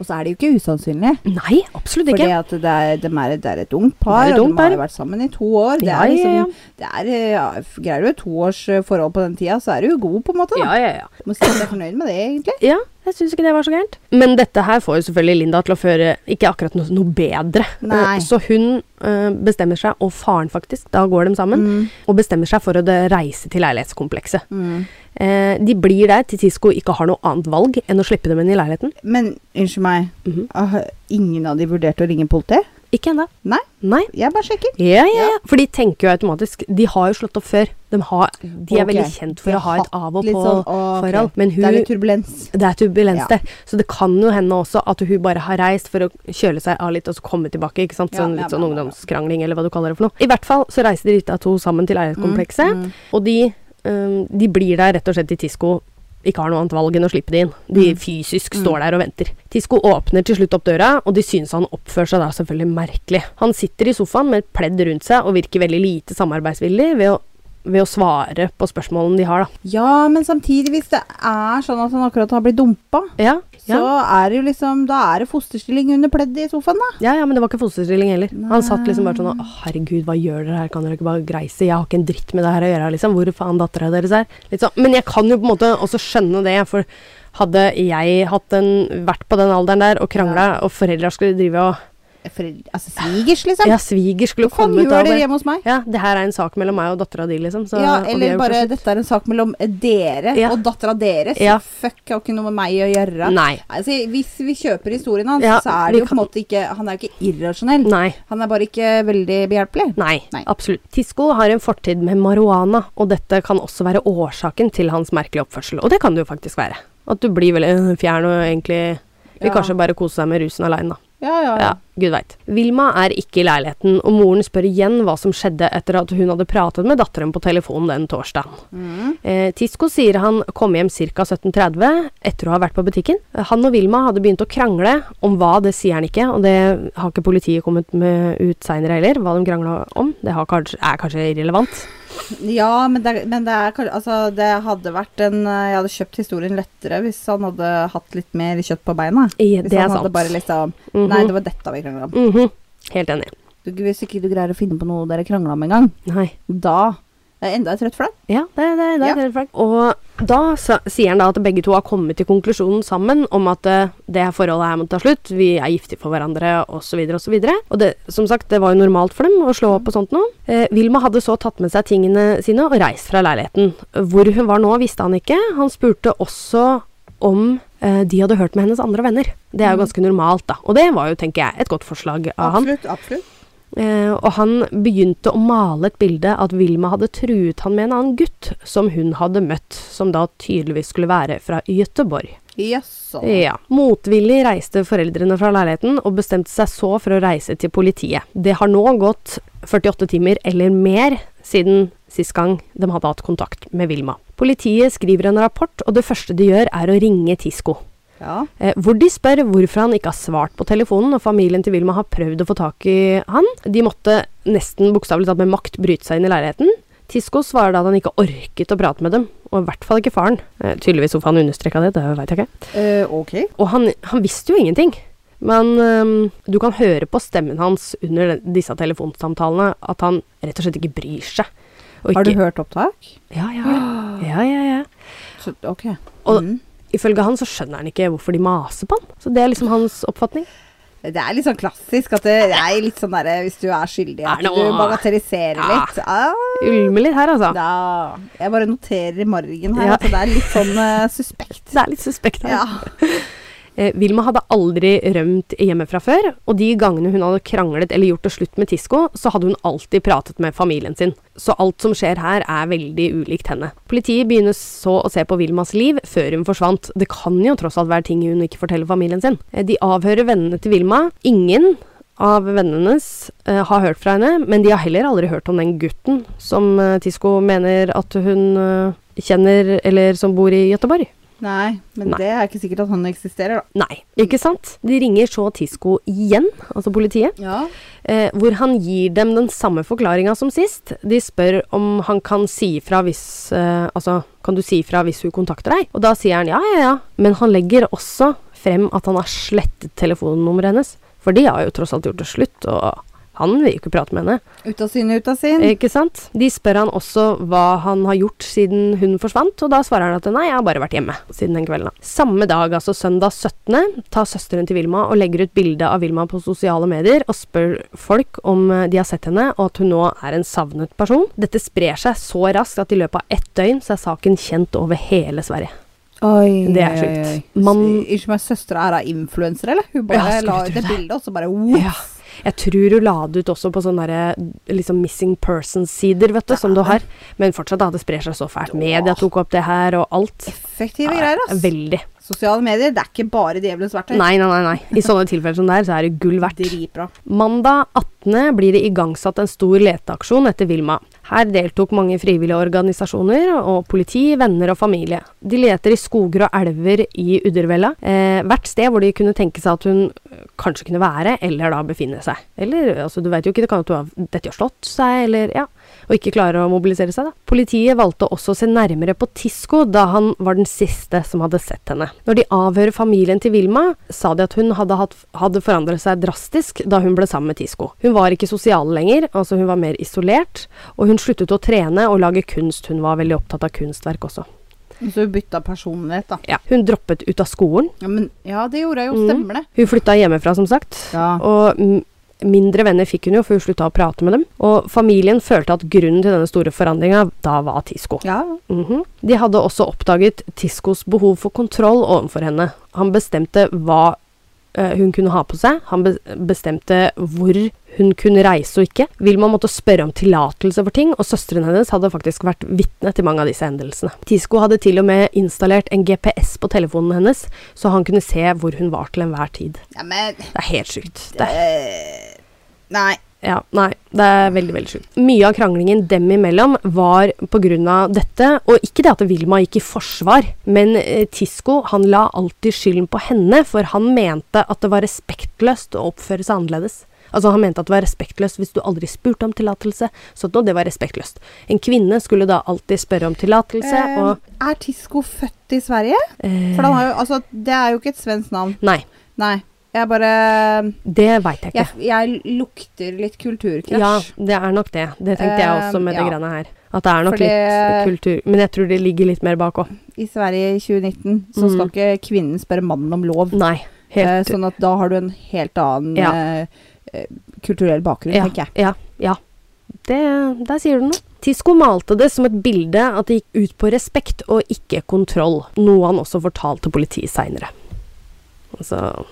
[SPEAKER 2] Og så er det jo ikke usannsynlig.
[SPEAKER 1] Nei, absolutt
[SPEAKER 2] Fordi
[SPEAKER 1] ikke.
[SPEAKER 2] at det er, dem er, det er et ungt par,
[SPEAKER 1] Det er et
[SPEAKER 2] og
[SPEAKER 1] ungt
[SPEAKER 2] de har
[SPEAKER 1] par.
[SPEAKER 2] jo vært sammen i to år. Det
[SPEAKER 1] Ja,
[SPEAKER 2] er
[SPEAKER 1] ja,
[SPEAKER 2] liksom,
[SPEAKER 1] ja.
[SPEAKER 2] Det er, eh, ja, greier du et toårs eh, forhold på den tida, så er du jo god, på en måte. Da.
[SPEAKER 1] Ja, ja, ja.
[SPEAKER 2] Må si at jeg er fornøyd med det, egentlig.
[SPEAKER 1] Ja, jeg syns ikke det var så gærent. Men dette her får jo selvfølgelig Linda til å føre ikke akkurat noe, noe bedre.
[SPEAKER 2] Nei.
[SPEAKER 1] Eh, Så hun eh, bestemmer seg, og faren faktisk, da går de sammen, og bestemmer seg for å eh, reise til leilighetskomplekset.
[SPEAKER 2] Mm.
[SPEAKER 1] Eh, de blir der til Tisco ikke har noe annet valg enn å slippe dem inn i leiligheten.
[SPEAKER 2] Men unnskyld meg,
[SPEAKER 1] Mhm.
[SPEAKER 2] ah, ingen av de vurderte å ringe politiet?
[SPEAKER 1] Ikke ennå.
[SPEAKER 2] Nei,
[SPEAKER 1] Nei.
[SPEAKER 2] jeg bare sjekker.
[SPEAKER 1] Ja, ja,
[SPEAKER 2] Ja.
[SPEAKER 1] ja. For de tenker jo automatisk De har jo slått opp før. De, har, de er
[SPEAKER 2] Ok.
[SPEAKER 1] veldig kjent for
[SPEAKER 2] De
[SPEAKER 1] å ha et
[SPEAKER 2] hatt
[SPEAKER 1] av og
[SPEAKER 2] litt sånn, å, ok.
[SPEAKER 1] på-forhold. Men
[SPEAKER 2] Det er
[SPEAKER 1] hun
[SPEAKER 2] litt turbulens.
[SPEAKER 1] Det er turbulens
[SPEAKER 2] Ja.
[SPEAKER 1] der. Så det kan jo hende også at hun bare har reist for å kjøle seg av litt og så komme tilbake. ikke sant?
[SPEAKER 2] Ja,
[SPEAKER 1] Sånn,
[SPEAKER 2] ja,
[SPEAKER 1] litt sånn
[SPEAKER 2] ja, ja, ja.
[SPEAKER 1] ungdomskrangling, eller hva du kaller det for noe. I hvert fall så reiser de da to sammen til leilighetskomplekset,
[SPEAKER 2] Mm,
[SPEAKER 1] og de, øhm, de blir der rett og slett i Tisco. Ikke har noe annet valg enn å slippe det inn. De
[SPEAKER 2] Mm.
[SPEAKER 1] fysisk står der og venter. Tisco åpner til slutt opp døra, og de syns han oppfører seg da selvfølgelig merkelig. Han sitter i sofaen med et pledd rundt seg og virker veldig lite samarbeidsvillig ved å, ved å svare på spørsmålene de har, da.
[SPEAKER 2] Ja, men samtidig, hvis det er sånn at han akkurat har blitt dumpa,
[SPEAKER 1] Ja,
[SPEAKER 2] så er det jo liksom Da er det fosterstilling under pleddet i sofaen, da.
[SPEAKER 1] Ja, ja, men det var ikke fosterstilling heller.
[SPEAKER 2] Nei.
[SPEAKER 1] Han satt liksom bare sånn «Å, Herregud, hva gjør dere her? Kan dere ikke bare greise? Jeg har ikke en dritt med det her å gjøre, liksom. Hvor faen dattera deres er? Litt sånn. Men jeg kan jo på en måte også skjønne det, for hadde jeg hatt en, vært på den alderen der og krangla, og foreldra skulle drive og
[SPEAKER 2] For, altså svigers, liksom.
[SPEAKER 1] Ja, sviger skulle
[SPEAKER 2] Hva faen
[SPEAKER 1] kommet og
[SPEAKER 2] gjør dere
[SPEAKER 1] bare
[SPEAKER 2] hjemme hos meg?
[SPEAKER 1] Ja, det her er en sak mellom meg og dattera di, liksom. Så,
[SPEAKER 2] ja,
[SPEAKER 1] og vi er
[SPEAKER 2] eller
[SPEAKER 1] jo
[SPEAKER 2] bare
[SPEAKER 1] kanskje-
[SPEAKER 2] dette er en sak mellom dere
[SPEAKER 1] Ja.
[SPEAKER 2] og dattera deres.
[SPEAKER 1] Ja.
[SPEAKER 2] Fuck, har ikke noe med meg å gjøre.
[SPEAKER 1] Nei.
[SPEAKER 2] Altså, hvis vi kjøper historien hans,
[SPEAKER 1] Ja,
[SPEAKER 2] så er
[SPEAKER 1] vi
[SPEAKER 2] det jo på
[SPEAKER 1] kan-
[SPEAKER 2] en måte ikke Han er jo ikke irrasjonell.
[SPEAKER 1] Nei.
[SPEAKER 2] Han er bare ikke veldig behjelpelig.
[SPEAKER 1] Nei,
[SPEAKER 2] Nei.
[SPEAKER 1] absolutt. Tisco har en fortid med marihuana, og dette kan også være årsaken til hans merkelige oppførsel. Og det kan det jo faktisk være. At du blir veldig øh, fjern og egentlig vil
[SPEAKER 2] Ja.
[SPEAKER 1] kanskje bare kose deg med rusen aleine, da.
[SPEAKER 2] Ja, ja, ja.
[SPEAKER 1] Ja, gud veit. Vilma er ikke i leiligheten, og moren spør igjen hva som skjedde etter at hun hadde pratet med datteren på telefon den torsdagen.
[SPEAKER 2] Mm.
[SPEAKER 1] Eh, Tisco sier han kom hjem ca. 17.30 etter å ha vært på butikken. Han og Vilma hadde begynt å krangle om hva, det sier han ikke, og det har ikke politiet kommet med ut seinere heller, hva de krangla om. Det har kanskje, er kanskje irrelevant.
[SPEAKER 2] Ja, men, det, men det, er, kan- altså, det hadde vært en eh, Jeg hadde kjøpt historien lettere hvis han hadde hatt litt mer kjøtt på beina.
[SPEAKER 1] I-
[SPEAKER 2] Hvis
[SPEAKER 1] det er
[SPEAKER 2] han
[SPEAKER 1] sant.
[SPEAKER 2] hadde bare liksom
[SPEAKER 1] Mhm.
[SPEAKER 2] Nei, det var dette vi krangla om.
[SPEAKER 1] Mhm. Helt enig.
[SPEAKER 2] Du, hvis ikke du greier å finne på noe dere krangla om engang,
[SPEAKER 1] Nei.
[SPEAKER 2] da er jeg enda et rødt flagg.
[SPEAKER 1] Ja, det, det, det,
[SPEAKER 2] Ja.
[SPEAKER 1] er helt frank. Og da sa, sier han da at begge to har kommet til konklusjonen sammen om at eh, det her forholdet her må ta slutt, vi er giftige for hverandre osv. osv. Og det, som sagt, det var jo normalt for dem å slå opp og sånt noe. Eh, Vilma hadde så tatt med seg tingene sine og reist fra leiligheten. Hvor hun var nå, visste han ikke. Han spurte også om eh, de hadde hørt med hennes andre venner. Det er jo ganske normalt, da. Og det var jo, tenker jeg, et godt forslag av han.
[SPEAKER 2] Mm. Absolutt. absolutt.
[SPEAKER 1] Eh, og han begynte å male et bilde at Vilma hadde truet han med en annen gutt som hun hadde møtt, som da tydeligvis skulle være fra Gøteborg.
[SPEAKER 2] Jaså.
[SPEAKER 1] Ja. Motvillig reiste foreldrene fra leiligheten og bestemte seg så for å reise til politiet. Det har nå gått 48 timer eller mer siden sist gang de hadde hatt kontakt med Vilma. Politiet skriver en rapport, og det første de gjør er å ringe Tisco.
[SPEAKER 2] Ja.
[SPEAKER 1] Eh, hvor de spør hvorfor han ikke har svart på telefonen, og familien til Vilma har prøvd å få tak i han. De måtte nesten bokstavelig talt med makt bryte seg inn i leiligheten. Tisco svarer da at han ikke orket å prate med dem, og i hvert fall ikke faren. Eh, tydeligvis hvorfor han understreka det, det veit jeg ikke.
[SPEAKER 2] Eh, ok.
[SPEAKER 1] Og han, han visste jo ingenting. Men ehm, du kan høre på stemmen hans under den, disse telefonsamtalene at han rett og slett ikke bryr seg. Og
[SPEAKER 2] Har du
[SPEAKER 1] ikke-
[SPEAKER 2] hørt opptak?
[SPEAKER 1] Ja, ja, ja, ja, ja.
[SPEAKER 2] Så, ok.
[SPEAKER 1] Og-
[SPEAKER 2] Mm.
[SPEAKER 1] Ifølge han så skjønner han ikke hvorfor de maser på han. Så det er liksom hans oppfatning.
[SPEAKER 2] Det er litt sånn klassisk at det det er litt sånn derre hvis du er skyldig, at
[SPEAKER 1] Er det
[SPEAKER 2] du
[SPEAKER 1] noe-
[SPEAKER 2] bagatelliserer
[SPEAKER 1] Ja.
[SPEAKER 2] litt. Ah,
[SPEAKER 1] Ulmer litt her, altså.
[SPEAKER 2] da. Jeg bare noterer i margen her
[SPEAKER 1] Ja.
[SPEAKER 2] at det er litt sånn eh, suspekt.
[SPEAKER 1] Det er litt suspekt her.
[SPEAKER 2] Ja.
[SPEAKER 1] Eh, Vilma hadde aldri rømt hjemmefra før, og de gangene hun hadde kranglet eller gjort det slutt med Tisco, så hadde hun alltid pratet med familien sin. Så alt som skjer her, er veldig ulikt henne. Politiet begynner så å se på Vilmas liv før hun forsvant. Det kan jo tross alt være ting hun ikke forteller familien sin. Eh, De avhører vennene til Vilma. Ingen av vennene hennes eh, har hørt fra henne, men de har heller aldri hørt om den gutten som eh, Tisco mener at hun eh, kjenner, eller som bor i Gøteborg.
[SPEAKER 2] Nei, men
[SPEAKER 1] Nei.
[SPEAKER 2] det er ikke sikkert at han eksisterer, da.
[SPEAKER 1] Nei, ikke sant? De ringer så Tisco igjen, altså politiet,
[SPEAKER 2] Ja.
[SPEAKER 1] eh, hvor han gir dem den samme forklaringa som sist. De spør om han kan si ifra hvis eh, Altså, kan du si ifra hvis hun kontakter deg? Og da sier han ja, ja, ja. Men han legger også frem at han har slettet telefonnummeret hennes. For de har jo tross alt gjort det slutt, og han vil jo ikke prate med henne.
[SPEAKER 2] Ut av syne, ut av sin.
[SPEAKER 1] Eh, Ikke sant? De spør han også hva han har gjort siden hun forsvant, og da svarer han at nei, jeg har bare vært hjemme siden den kvelden. da. Samme dag, altså søndag 17., tar søsteren til Vilma og legger ut bilde av Vilma på sosiale medier og spør folk om eh, de har sett henne, og at hun nå er en savnet person. Dette sprer seg så raskt at i løpet av ett døgn så er saken kjent over hele Sverige.
[SPEAKER 2] Oi,
[SPEAKER 1] Det er
[SPEAKER 2] oi,
[SPEAKER 1] sjukt.
[SPEAKER 2] oi, oi.
[SPEAKER 1] Man-
[SPEAKER 2] S- Unnskyld meg, søstera er da influenser, eller?
[SPEAKER 1] Ja,
[SPEAKER 2] Hun bare
[SPEAKER 1] skulle tro
[SPEAKER 2] la ut det
[SPEAKER 1] det.
[SPEAKER 2] bildet, og så bare whoops.
[SPEAKER 1] Ja. Jeg tror hun la det ut også på sånne der, liksom missing persons-sider, vet du, som du har. Men fortsatt, da, det sprer seg så fælt. Media tok opp det her, og alt.
[SPEAKER 2] Effektive greier, ass.
[SPEAKER 1] Veldig.
[SPEAKER 2] Sosiale medier, det er ikke bare djevelens verktøy.
[SPEAKER 1] Nei, nei, nei, nei. I sånne tilfeller som det er, så er det gull verdt.
[SPEAKER 2] Dritbra.
[SPEAKER 1] Mandag 18. blir det igangsatt en stor leteaksjon etter Vilma. Her deltok mange frivillige organisasjoner og politi, venner og familie. De leter i skoger og elver i Uddervella, eh, hvert sted hvor de kunne tenke seg at hun eh, kanskje kunne være, eller da befinne seg. Eller, altså du vet jo ikke, det kan jo være dette har slått seg, eller ja, og ikke klarer å mobilisere seg da. Politiet valgte også å se nærmere på Tisco da han var den siste som hadde sett henne. Når de avhører familien til Vilma, sa de at hun hadde, hatt, hadde forandret seg drastisk da hun ble sammen med Tisco. Hun var ikke sosial lenger, altså hun var mer isolert, og hun sluttet å trene og lage kunst. Hun var veldig opptatt av kunstverk også.
[SPEAKER 2] Så hun bytta personlighet, da.
[SPEAKER 1] Ja. Hun droppet ut av skolen.
[SPEAKER 2] Ja, men, ja det gjorde jeg jo.
[SPEAKER 1] Mhm.
[SPEAKER 2] Stemmer det.
[SPEAKER 1] Hun flytta hjemmefra, som sagt.
[SPEAKER 2] Ja.
[SPEAKER 1] Og m- mindre venner fikk hun jo, for hun slutta å prate med dem. Og familien følte at grunnen til denne store forandringa da var Tisco.
[SPEAKER 2] Ja.
[SPEAKER 1] Mhm. De hadde også oppdaget Tiscos behov for kontroll overfor henne. Han bestemte hva eh, hun kunne ha på seg. Han be bestemte hvor hun kunne reise og ikke. Vilma måtte spørre om tillatelse for ting, og søsteren hennes hadde faktisk vært vitne til mange av disse hendelsene. Tisco hadde til og med installert en GPS på telefonen hennes, så han kunne se hvor hun var til enhver tid.
[SPEAKER 2] Ja, men
[SPEAKER 1] Det er helt sjukt. Det er
[SPEAKER 2] eh, Nei.
[SPEAKER 1] ja, nei, det er veldig, veldig sjukt. Mye av kranglingen dem imellom var pga. dette, og ikke det at Vilma gikk i forsvar, men eh, Tisco han la alltid skylden på henne, for han mente at det var respektløst å oppføre seg annerledes. Altså Han mente at det var respektløst hvis du aldri spurte om tillatelse. Sånn og det var respektløst. En kvinne skulle da alltid spørre om tillatelse,
[SPEAKER 2] Eh,
[SPEAKER 1] og eh,
[SPEAKER 2] er Tisco født i Sverige? For han har jo, altså, det er jo ikke et svensk navn.
[SPEAKER 1] Nei,
[SPEAKER 2] Nei. Jeg bare
[SPEAKER 1] det veit jeg ikke.
[SPEAKER 2] Jeg, jeg lukter litt kulturkrasj.
[SPEAKER 1] Ja, det er nok det. Det tenkte jeg også med det
[SPEAKER 2] Eh, ja.
[SPEAKER 1] greiene her. At det er nok
[SPEAKER 2] Fordi- eh,
[SPEAKER 1] litt kultur. Men jeg tror det ligger litt mer bak òg.
[SPEAKER 2] I Sverige i 2019 så skal ikke kvinnen spørre mannen om lov.
[SPEAKER 1] Nei.
[SPEAKER 2] Eh,
[SPEAKER 1] Mm. Helt
[SPEAKER 2] sånn at da har du en helt annen
[SPEAKER 1] Ja.
[SPEAKER 2] eh, eh, kulturell bakgrunn,
[SPEAKER 1] ja,
[SPEAKER 2] tenker jeg.
[SPEAKER 1] Ja. ja. Det, der sier du noe. Tisco malte det som et bilde at det gikk ut på respekt og ikke kontroll, noe han også fortalte politiet seinere. Altså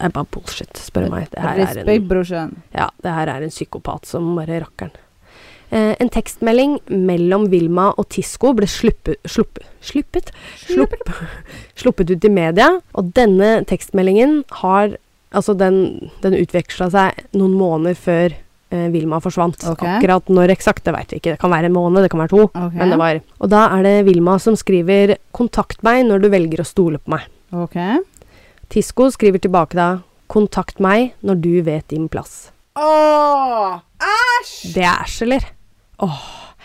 [SPEAKER 1] Det er bare bullshit, spør du meg. Det her er en
[SPEAKER 2] Respekt, brorsan.
[SPEAKER 1] Ja, det her er en psykopat som bare rakkeren. Eh, en tekstmelding mellom Vilma og Tisco ble sluppe, sluppe, sluppet, slupp, sluppet ut i media, og denne tekstmeldingen har Altså, den, den utveksla seg noen måneder før eh, Vilma forsvant.
[SPEAKER 2] Ok.
[SPEAKER 1] Akkurat når eksakt, det veit vi ikke. Det kan være en måned, det kan være to.
[SPEAKER 2] Ok.
[SPEAKER 1] Men det var Og da er det Vilma som skriver 'Kontakt meg når du velger å stole på meg'.
[SPEAKER 2] Ok.
[SPEAKER 1] Tisco skriver tilbake da 'Kontakt meg når du vet din plass'.
[SPEAKER 2] Åh, æsj!
[SPEAKER 1] Det er æsj, eller? Åh,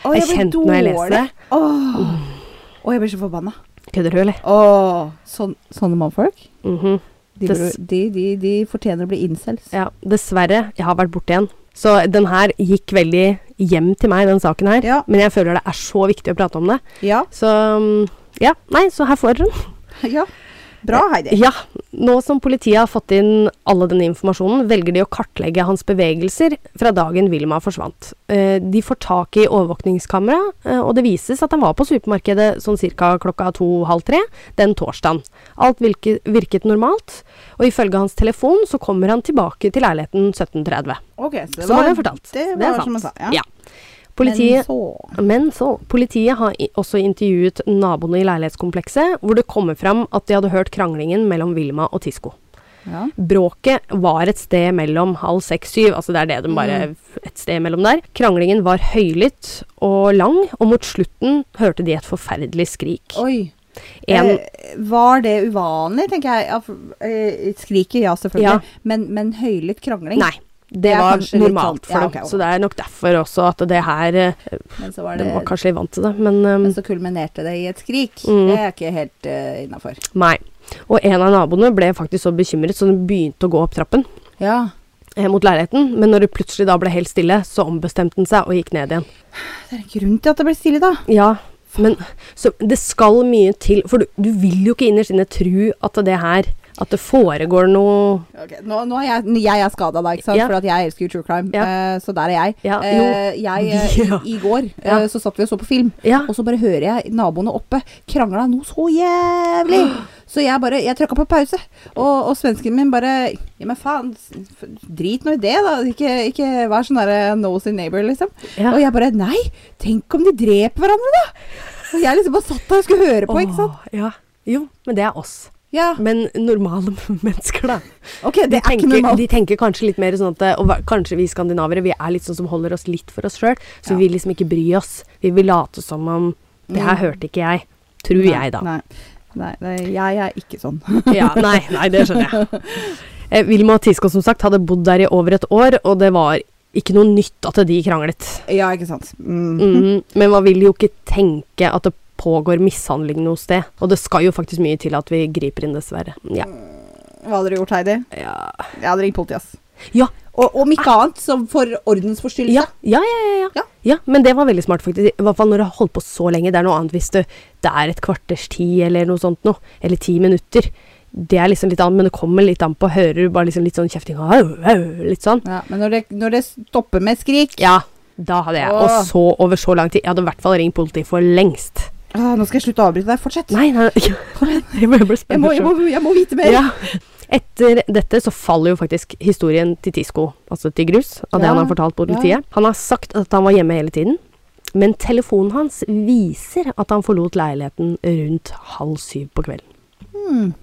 [SPEAKER 2] Åh,
[SPEAKER 1] jeg
[SPEAKER 2] blir
[SPEAKER 1] kjente når jeg leser det.
[SPEAKER 2] Åh, Åh, jeg blir så forbanna.
[SPEAKER 1] Kødder du, eller?
[SPEAKER 2] Åh, sånn, sånne mannfolk,
[SPEAKER 1] Mhm.
[SPEAKER 2] de,
[SPEAKER 1] Det
[SPEAKER 2] burde-
[SPEAKER 1] s-
[SPEAKER 2] de, de, de fortjener å bli incels.
[SPEAKER 1] Ja, dessverre. Jeg har vært borte igjen. Så den her gikk veldig hjem til meg, den saken her.
[SPEAKER 2] Ja.
[SPEAKER 1] Men jeg føler det er så viktig å prate om det.
[SPEAKER 2] Ja.
[SPEAKER 1] Så mm, ja, nei, så her får dere den.
[SPEAKER 2] ja. Eh, Bra, Heidi.
[SPEAKER 1] Ja, nå som politiet har fått inn alle denne informasjonen, velger de å kartlegge hans bevegelser fra dagen Vilma forsvant. Eh, De får tak i overvåkningskamera, eh, og det vises at han var på supermarkedet sånn ca. klokka to-halv tre den torsdagen. Alt virket, virket normalt, og ifølge hans telefon så kommer han tilbake til leiligheten 17.30.
[SPEAKER 2] Ok, så det
[SPEAKER 1] Som han
[SPEAKER 2] var,
[SPEAKER 1] har fortalt.
[SPEAKER 2] det var som han sa. Ja.
[SPEAKER 1] Ja. Politiet
[SPEAKER 2] Men så...
[SPEAKER 1] men så, politiet har i- også intervjuet naboene i leilighetskomplekset, hvor det kommer fram at de hadde hørt kranglingen mellom Vilma og Tisco.
[SPEAKER 2] Ja.
[SPEAKER 1] Bråket var et sted mellom halv seks-syv, altså det er det de bare
[SPEAKER 2] Mm.
[SPEAKER 1] Et sted mellom der. Kranglingen var høylytt og lang, og mot slutten hørte de et forferdelig skrik.
[SPEAKER 2] Oi.
[SPEAKER 1] En,
[SPEAKER 2] Eh, var det uvanlig, tenker jeg. Ja, for- eh, skriket, ja, selvfølgelig.
[SPEAKER 1] Ja.
[SPEAKER 2] Men, men høylytt krangling.
[SPEAKER 1] nei. Det
[SPEAKER 2] Det er
[SPEAKER 1] var
[SPEAKER 2] kanskje litt
[SPEAKER 1] normalt
[SPEAKER 2] sånn-
[SPEAKER 1] for
[SPEAKER 2] ja,
[SPEAKER 1] dem.
[SPEAKER 2] ok, ok.
[SPEAKER 1] Så det er nok derfor også at det her eh,
[SPEAKER 2] Men så var
[SPEAKER 1] De
[SPEAKER 2] det,
[SPEAKER 1] var kanskje litt vant til det, men ehm,
[SPEAKER 2] men så kulminerte det i et skrik.
[SPEAKER 1] Mm.
[SPEAKER 2] Det er ikke helt uh, innafor.
[SPEAKER 1] nei. Og en av naboene ble faktisk så bekymret, så den begynte å gå opp trappen.
[SPEAKER 2] Ja.
[SPEAKER 1] eh, mot leiligheten, men når det plutselig da ble helt stille, så ombestemte den seg og gikk ned igjen.
[SPEAKER 2] Det er en grunn til at det ble stille, da.
[SPEAKER 1] Ja, men så det skal mye til, for du, du vil jo ikke innerst inne tro at det her at det foregår noe
[SPEAKER 2] Ok, nå, nå er jeg, jeg er skada da, ikke sant?
[SPEAKER 1] Ja.
[SPEAKER 2] for at jeg elsker jo true crime.
[SPEAKER 1] Ja.
[SPEAKER 2] eh, så der er jeg.
[SPEAKER 1] Ja,
[SPEAKER 2] Eh,
[SPEAKER 1] jo.
[SPEAKER 2] jeg eh,
[SPEAKER 1] Ja.
[SPEAKER 2] I, I går
[SPEAKER 1] Ja.
[SPEAKER 2] eh, så satt vi og så på film,
[SPEAKER 1] Ja.
[SPEAKER 2] og så bare hører jeg naboene oppe krangla noe så jævlig. Så jeg bare Jeg trykka på pause, og, og svensken min bare Ja, men faen, s- f- drit nå i det, da. Ikke, ikke vær sånn derre nose in neighbor, liksom.
[SPEAKER 1] Ja.
[SPEAKER 2] Og jeg bare Nei, tenk om de dreper hverandre, da! Og jeg liksom bare satt der og skulle høre på, ikke sant.
[SPEAKER 1] Åh, Ja. Jo, men det er oss.
[SPEAKER 2] Ja.
[SPEAKER 1] Men normale mennesker, da.
[SPEAKER 2] OK, det er ikke
[SPEAKER 1] Tenker,
[SPEAKER 2] normalt.
[SPEAKER 1] de tenker kanskje litt mer sånn at eh, og hva- Kanskje vi skandinavere vi er litt sånn som holder oss litt for oss sjøl, så
[SPEAKER 2] Ja.
[SPEAKER 1] vi vil liksom ikke bry oss. Vi vil late som om Det her hørte ikke jeg. Tror
[SPEAKER 2] Mm. Nei,
[SPEAKER 1] jeg, da.
[SPEAKER 2] Nei, nei, nei jeg er ikke sånn.
[SPEAKER 1] Ja, nei, nei, det skjønner jeg. Eh, Vilma og Tisco som sagt hadde bodd der i over et år, og det var ikke noe nytt at de kranglet.
[SPEAKER 2] Ja, ikke sant. Mm.
[SPEAKER 1] Mhm. Men man vil jo ikke tenke at det pågår mishandling noe sted. Og det skal jo faktisk mye til at vi griper inn, dessverre. Ja.
[SPEAKER 2] Hva hadde du gjort, Heidi?
[SPEAKER 1] Mm. Ja,
[SPEAKER 2] Jeg hadde ringt politiet, ass.
[SPEAKER 1] ja,
[SPEAKER 2] Og om ikke annet, så for ordensforstyrrelse.
[SPEAKER 1] ja, ja. ja, ja, ja.
[SPEAKER 2] Ja.
[SPEAKER 1] ja men det var veldig smart, faktisk. I hvert fall når det har holdt på så lenge. Det er noe annet hvis det, det er et kvarters tid eller noe sånt noe. Eller ti minutter. Det er liksom litt annet, men det kommer litt an på. Hører du bare liksom litt sånn kjefting au, au, Litt sånn.
[SPEAKER 2] Ja, men når det, når det stopper med skrik
[SPEAKER 1] Ja, da hadde jeg. Og
[SPEAKER 2] Åh.
[SPEAKER 1] så over så lang tid. Jeg hadde i hvert fall ringt politiet for lengst.
[SPEAKER 2] ah, Nå skal jeg slutte å avbryte deg. Fortsett.
[SPEAKER 1] Nei, nei, nei. Jeg må- jeg ble
[SPEAKER 2] Jeg må,
[SPEAKER 1] spent.
[SPEAKER 2] jeg, må, jeg må vite mer.
[SPEAKER 1] Ja. Etter dette så faller jo faktisk historien til Tisco, altså til Grus, av det
[SPEAKER 2] Ja,
[SPEAKER 1] han har fortalt politiet.
[SPEAKER 2] ja.
[SPEAKER 1] Han har sagt at han var hjemme hele tiden, men telefonen hans viser at han forlot leiligheten rundt halv syv på kvelden.
[SPEAKER 2] Hmm.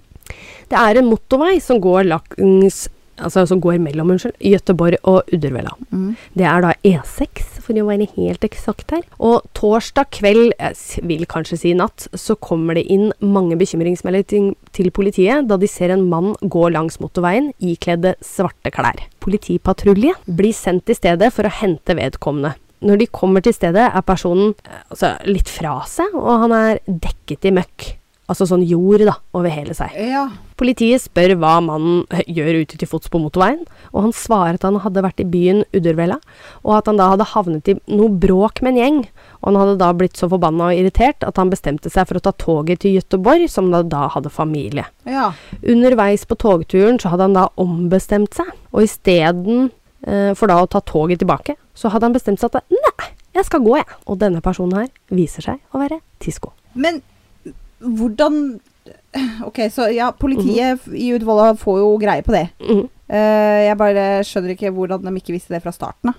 [SPEAKER 1] Det er en motorvei som går langs Altså som går mellom unnskyld, Gøteborg og Uddervella.
[SPEAKER 2] Mm.
[SPEAKER 1] Det er da E6, for å være helt eksakt her. Og torsdag kveld, jeg s- vil kanskje si natt, så kommer det inn mange bekymringsmeldinger til- til politiet da de ser en mann gå langs motorveien ikledde svarte klær. Politipatrulje blir sendt til stedet for å hente vedkommende. Når de kommer til stedet, er personen eh, altså, litt fra seg, og han er dekket i møkk. Altså sånn jord da, over hele seg.
[SPEAKER 2] Ja.
[SPEAKER 1] Politiet spør hva mannen gjør ute til fots på motorveien, og han svarer at han hadde vært i byen Uddervella, og at han da hadde havnet i noe bråk med en gjeng, og han hadde da blitt så forbanna og irritert at han bestemte seg for å ta toget til Gøteborg, som da, da hadde familie.
[SPEAKER 2] ja.
[SPEAKER 1] Underveis på togturen så hadde han da ombestemt seg, og isteden eh, for da å ta toget tilbake, så hadde han bestemt seg at nei, jeg skal gå, jeg. Og denne personen her viser seg å være Tisco.
[SPEAKER 2] Men hvordan Ok, så ja, politiet i Uddevalla får jo greie på det.
[SPEAKER 1] Mhm.
[SPEAKER 2] Eh, jeg bare skjønner ikke hvordan de ikke visste det fra starten. Da.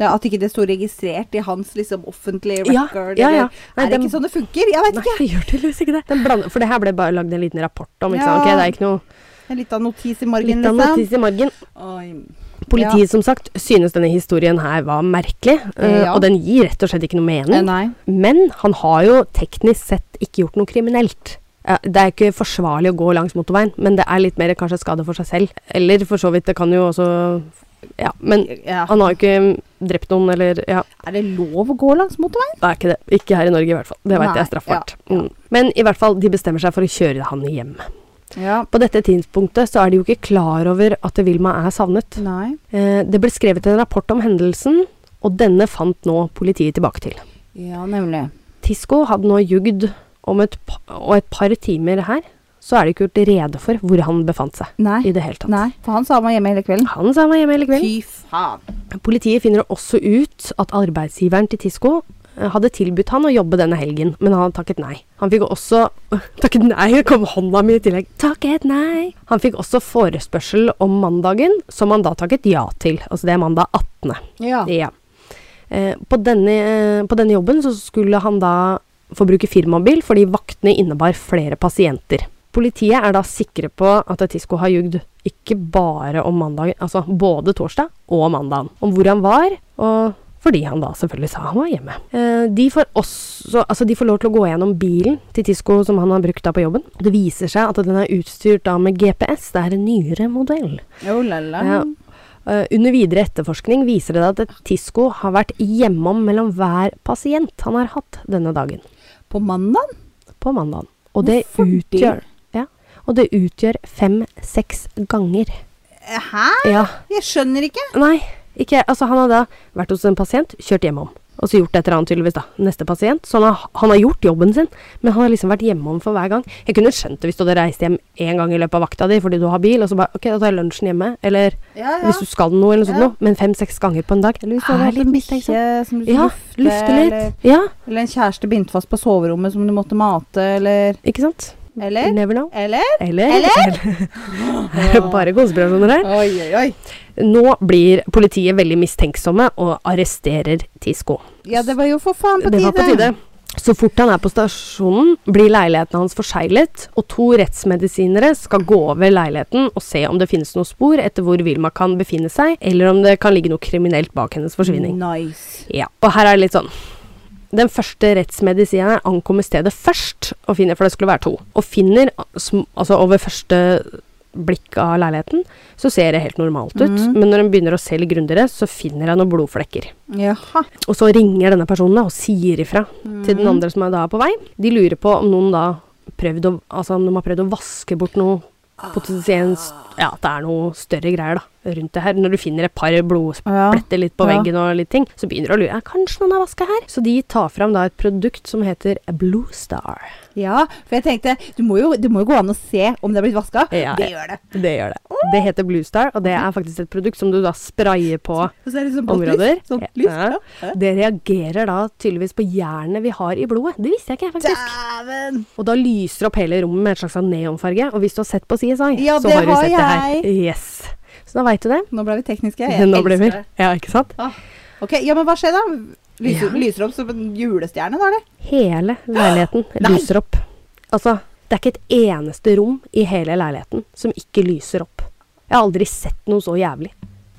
[SPEAKER 2] Det, at ikke det sto registrert i hans liksom, offentlige
[SPEAKER 1] Ja,
[SPEAKER 2] record.
[SPEAKER 1] ja, ja.
[SPEAKER 2] eller-
[SPEAKER 1] Nei,
[SPEAKER 2] er det
[SPEAKER 1] dem-
[SPEAKER 2] ikke sånn det funker? Jeg vet
[SPEAKER 1] Nei,
[SPEAKER 2] ikke.
[SPEAKER 1] det gjør tydeligvis ikke det. Den blander, for det her ble bare lagd en liten rapport om. ikke sant?
[SPEAKER 2] Ja.
[SPEAKER 1] Ok, det er ikke noe
[SPEAKER 2] En liten notis i margen,
[SPEAKER 1] litt av
[SPEAKER 2] liksom.
[SPEAKER 1] notis i margen.
[SPEAKER 2] Oi.
[SPEAKER 1] Politiet som sagt synes denne historien her var merkelig, eh,
[SPEAKER 2] Ja.
[SPEAKER 1] og den gir rett og slett ikke noe
[SPEAKER 2] Eh,
[SPEAKER 1] mening.
[SPEAKER 2] Nei.
[SPEAKER 1] Men han har jo teknisk sett ikke gjort noe kriminelt. Ja, Det er ikke forsvarlig å gå langs motorveien, men det er litt mer kanskje skade for seg selv. Eller for så vidt, det kan jo også Ja, men
[SPEAKER 2] Ja.
[SPEAKER 1] han har jo ikke drept noen, eller Ja.
[SPEAKER 2] Er det lov å gå langs motorveien?
[SPEAKER 1] Det er ikke det. Ikke her i Norge, i hvert fall. Det
[SPEAKER 2] Nei,
[SPEAKER 1] veit jeg er straffbart. Mm. Men i hvert fall, de bestemmer seg for å kjøre han hjem.
[SPEAKER 2] Ja.
[SPEAKER 1] På dette tidspunktet så er de jo ikke klar over at Vilma er savnet.
[SPEAKER 2] Nei.
[SPEAKER 1] Eh, Det ble skrevet en rapport om hendelsen, og denne fant nå politiet tilbake til.
[SPEAKER 2] Ja, nemlig.
[SPEAKER 1] Tisco hadde nå jugd om et, pa- og et par timer her, så er det ikke gjort rede for hvor han befant seg
[SPEAKER 2] Nei.
[SPEAKER 1] i det hele tatt.
[SPEAKER 2] Nei. For han sa han var hjemme hele kvelden.
[SPEAKER 1] Han sa han var hjemme hele kvelden.
[SPEAKER 2] Fy faen.
[SPEAKER 1] Politiet finner også ut at arbeidsgiveren til Tisco eh, hadde tilbudt han å jobbe denne helgen, men han hadde takket nei. Han fikk også Takket nei, det kom hånda mi i tillegg. Takket nei. Han fikk også forespørsel om mandagen, som han da takket ja til. Altså det er mandag 18.
[SPEAKER 2] Ja.
[SPEAKER 1] Ja. Eh, på, denne, eh, på denne jobben så skulle han da få bruke firmabil, fordi vaktene innebar flere pasienter. Politiet er da sikre på at Tisco har jugd ikke bare om mandagen, altså både torsdag og mandagen, om hvor han var, og fordi han da selvfølgelig sa han var hjemme. Eh, de, får også, altså de får lov til å gå gjennom bilen til Tisco som han har brukt da på jobben. Det viser seg at den er utstyrt da med GPS, det er en nyere modell.
[SPEAKER 2] Oh, la, la.
[SPEAKER 1] Ja. Eh, under videre etterforskning viser det at Tisco har vært hjemom mellom hver pasient han har hatt denne dagen,
[SPEAKER 2] På mandag?
[SPEAKER 1] på mandagen. Og det
[SPEAKER 2] Hvorfor det?
[SPEAKER 1] utgjør ja, Og det utgjør fem-seks ganger.
[SPEAKER 2] Eh, Hæ?
[SPEAKER 1] Ja.
[SPEAKER 2] Jeg skjønner ikke.
[SPEAKER 1] Nei, ikke Altså, han har da vært hos en pasient, kjørt hjemom. Og så gjort et eller annet, tydeligvis, da. Neste pasient. Så han har, han har gjort jobben sin, men han har liksom vært hjemom for hver gang. Jeg kunne skjønt det hvis du hadde reist hjem én gang i løpet av vakta di fordi du har bil, og så bare OK, da tar jeg lunsjen hjemme, eller
[SPEAKER 2] Ja,
[SPEAKER 1] hvis du skal noe, eller noe sånt
[SPEAKER 2] Ja.
[SPEAKER 1] noe. Men fem-seks ganger på en dag Ah,
[SPEAKER 2] Eller hvis du hadde hatt en bikkje som du skulle
[SPEAKER 1] Ja,
[SPEAKER 2] lufte,
[SPEAKER 1] lufte
[SPEAKER 2] Eller,
[SPEAKER 1] litt. Ja,
[SPEAKER 2] eller en kjæreste bindt fast på soverommet som du måtte mate, eller
[SPEAKER 1] ikke sant? You
[SPEAKER 2] Eller?
[SPEAKER 1] Never know.
[SPEAKER 2] Eller?
[SPEAKER 1] Eller,
[SPEAKER 2] Åh.
[SPEAKER 1] Bare konspirasjoner her.
[SPEAKER 2] Oi, oi, oi.
[SPEAKER 1] Nå blir politiet veldig mistenksomme og arresterer Tisco.
[SPEAKER 2] Ja, det var jo for faen på
[SPEAKER 1] Det var på tide. Så fort han er på stasjonen, blir leiligheten hans forseglet, og to rettsmedisinere skal gå over leiligheten og se om det finnes noen spor etter hvor Vilma kan befinne seg, eller om det kan ligge noe kriminelt bak hennes forsvinning.
[SPEAKER 2] Nice.
[SPEAKER 1] Ja, og her er det litt sånn. Den første rettsmedisineren ankommer stedet først, og finner, for det skulle være to, og finner, sm- altså over første blikk av leiligheten, så ser det helt normalt ut,
[SPEAKER 2] Mhm.
[SPEAKER 1] men når hun begynner å se litt grundigere, så finner hun noen blodflekker.
[SPEAKER 2] Jaha.
[SPEAKER 1] Og så ringer denne personen da, og sier ifra til den andre som er da er på vei. De lurer på om noen da prøvd Ah. å, altså om de har prøvd å vaske bort noe potensielt, ja, at det er noe større greier da. rundt det her. Når du finner et par blodspretter
[SPEAKER 2] Å, ja.
[SPEAKER 1] litt på
[SPEAKER 2] Ja.
[SPEAKER 1] veggen og litt ting, så begynner du å lure. Ja, kanskje noen har vaska her? Så de tar fram da et produkt som heter Blue Star.
[SPEAKER 2] Ja, for jeg tenkte du må jo, det må jo gå an å se om det er blitt vaska.
[SPEAKER 1] Ja,
[SPEAKER 2] det
[SPEAKER 1] ja.
[SPEAKER 2] gjør det.
[SPEAKER 1] Det gjør det. Mhm. Det heter Blue Star, og det er faktisk et produkt som du da sprayer på
[SPEAKER 2] Og så er det sånn blått lys.
[SPEAKER 1] områder.
[SPEAKER 2] Sånn lys.
[SPEAKER 1] Ja.
[SPEAKER 2] ja.
[SPEAKER 1] Det reagerer da tydeligvis på jernet vi har i blodet. Det visste jeg ikke, faktisk.
[SPEAKER 2] Dæven!
[SPEAKER 1] Og da lyser opp hele rommet med et slags sånn neonfarge. Og hvis du har sett på CSI,
[SPEAKER 2] Ja,
[SPEAKER 1] så
[SPEAKER 2] det
[SPEAKER 1] har du
[SPEAKER 2] har
[SPEAKER 1] sett det her.
[SPEAKER 2] jeg.
[SPEAKER 1] Yes. Så da veit du det.
[SPEAKER 2] Nå ble vi tekniske. Jeg
[SPEAKER 1] Nå
[SPEAKER 2] elsker
[SPEAKER 1] blir vi
[SPEAKER 2] det.
[SPEAKER 1] Ja, ikke sant?
[SPEAKER 2] Ah. Ok, ja, men hva skjer da? Lyser,
[SPEAKER 1] Ja.
[SPEAKER 2] lyser opp som en julestjerne, da, eller?
[SPEAKER 1] Hele leiligheten
[SPEAKER 2] Nei!
[SPEAKER 1] lyser opp. Altså, det er ikke et eneste rom i hele leiligheten som ikke lyser opp. Jeg har aldri sett noe så jævlig.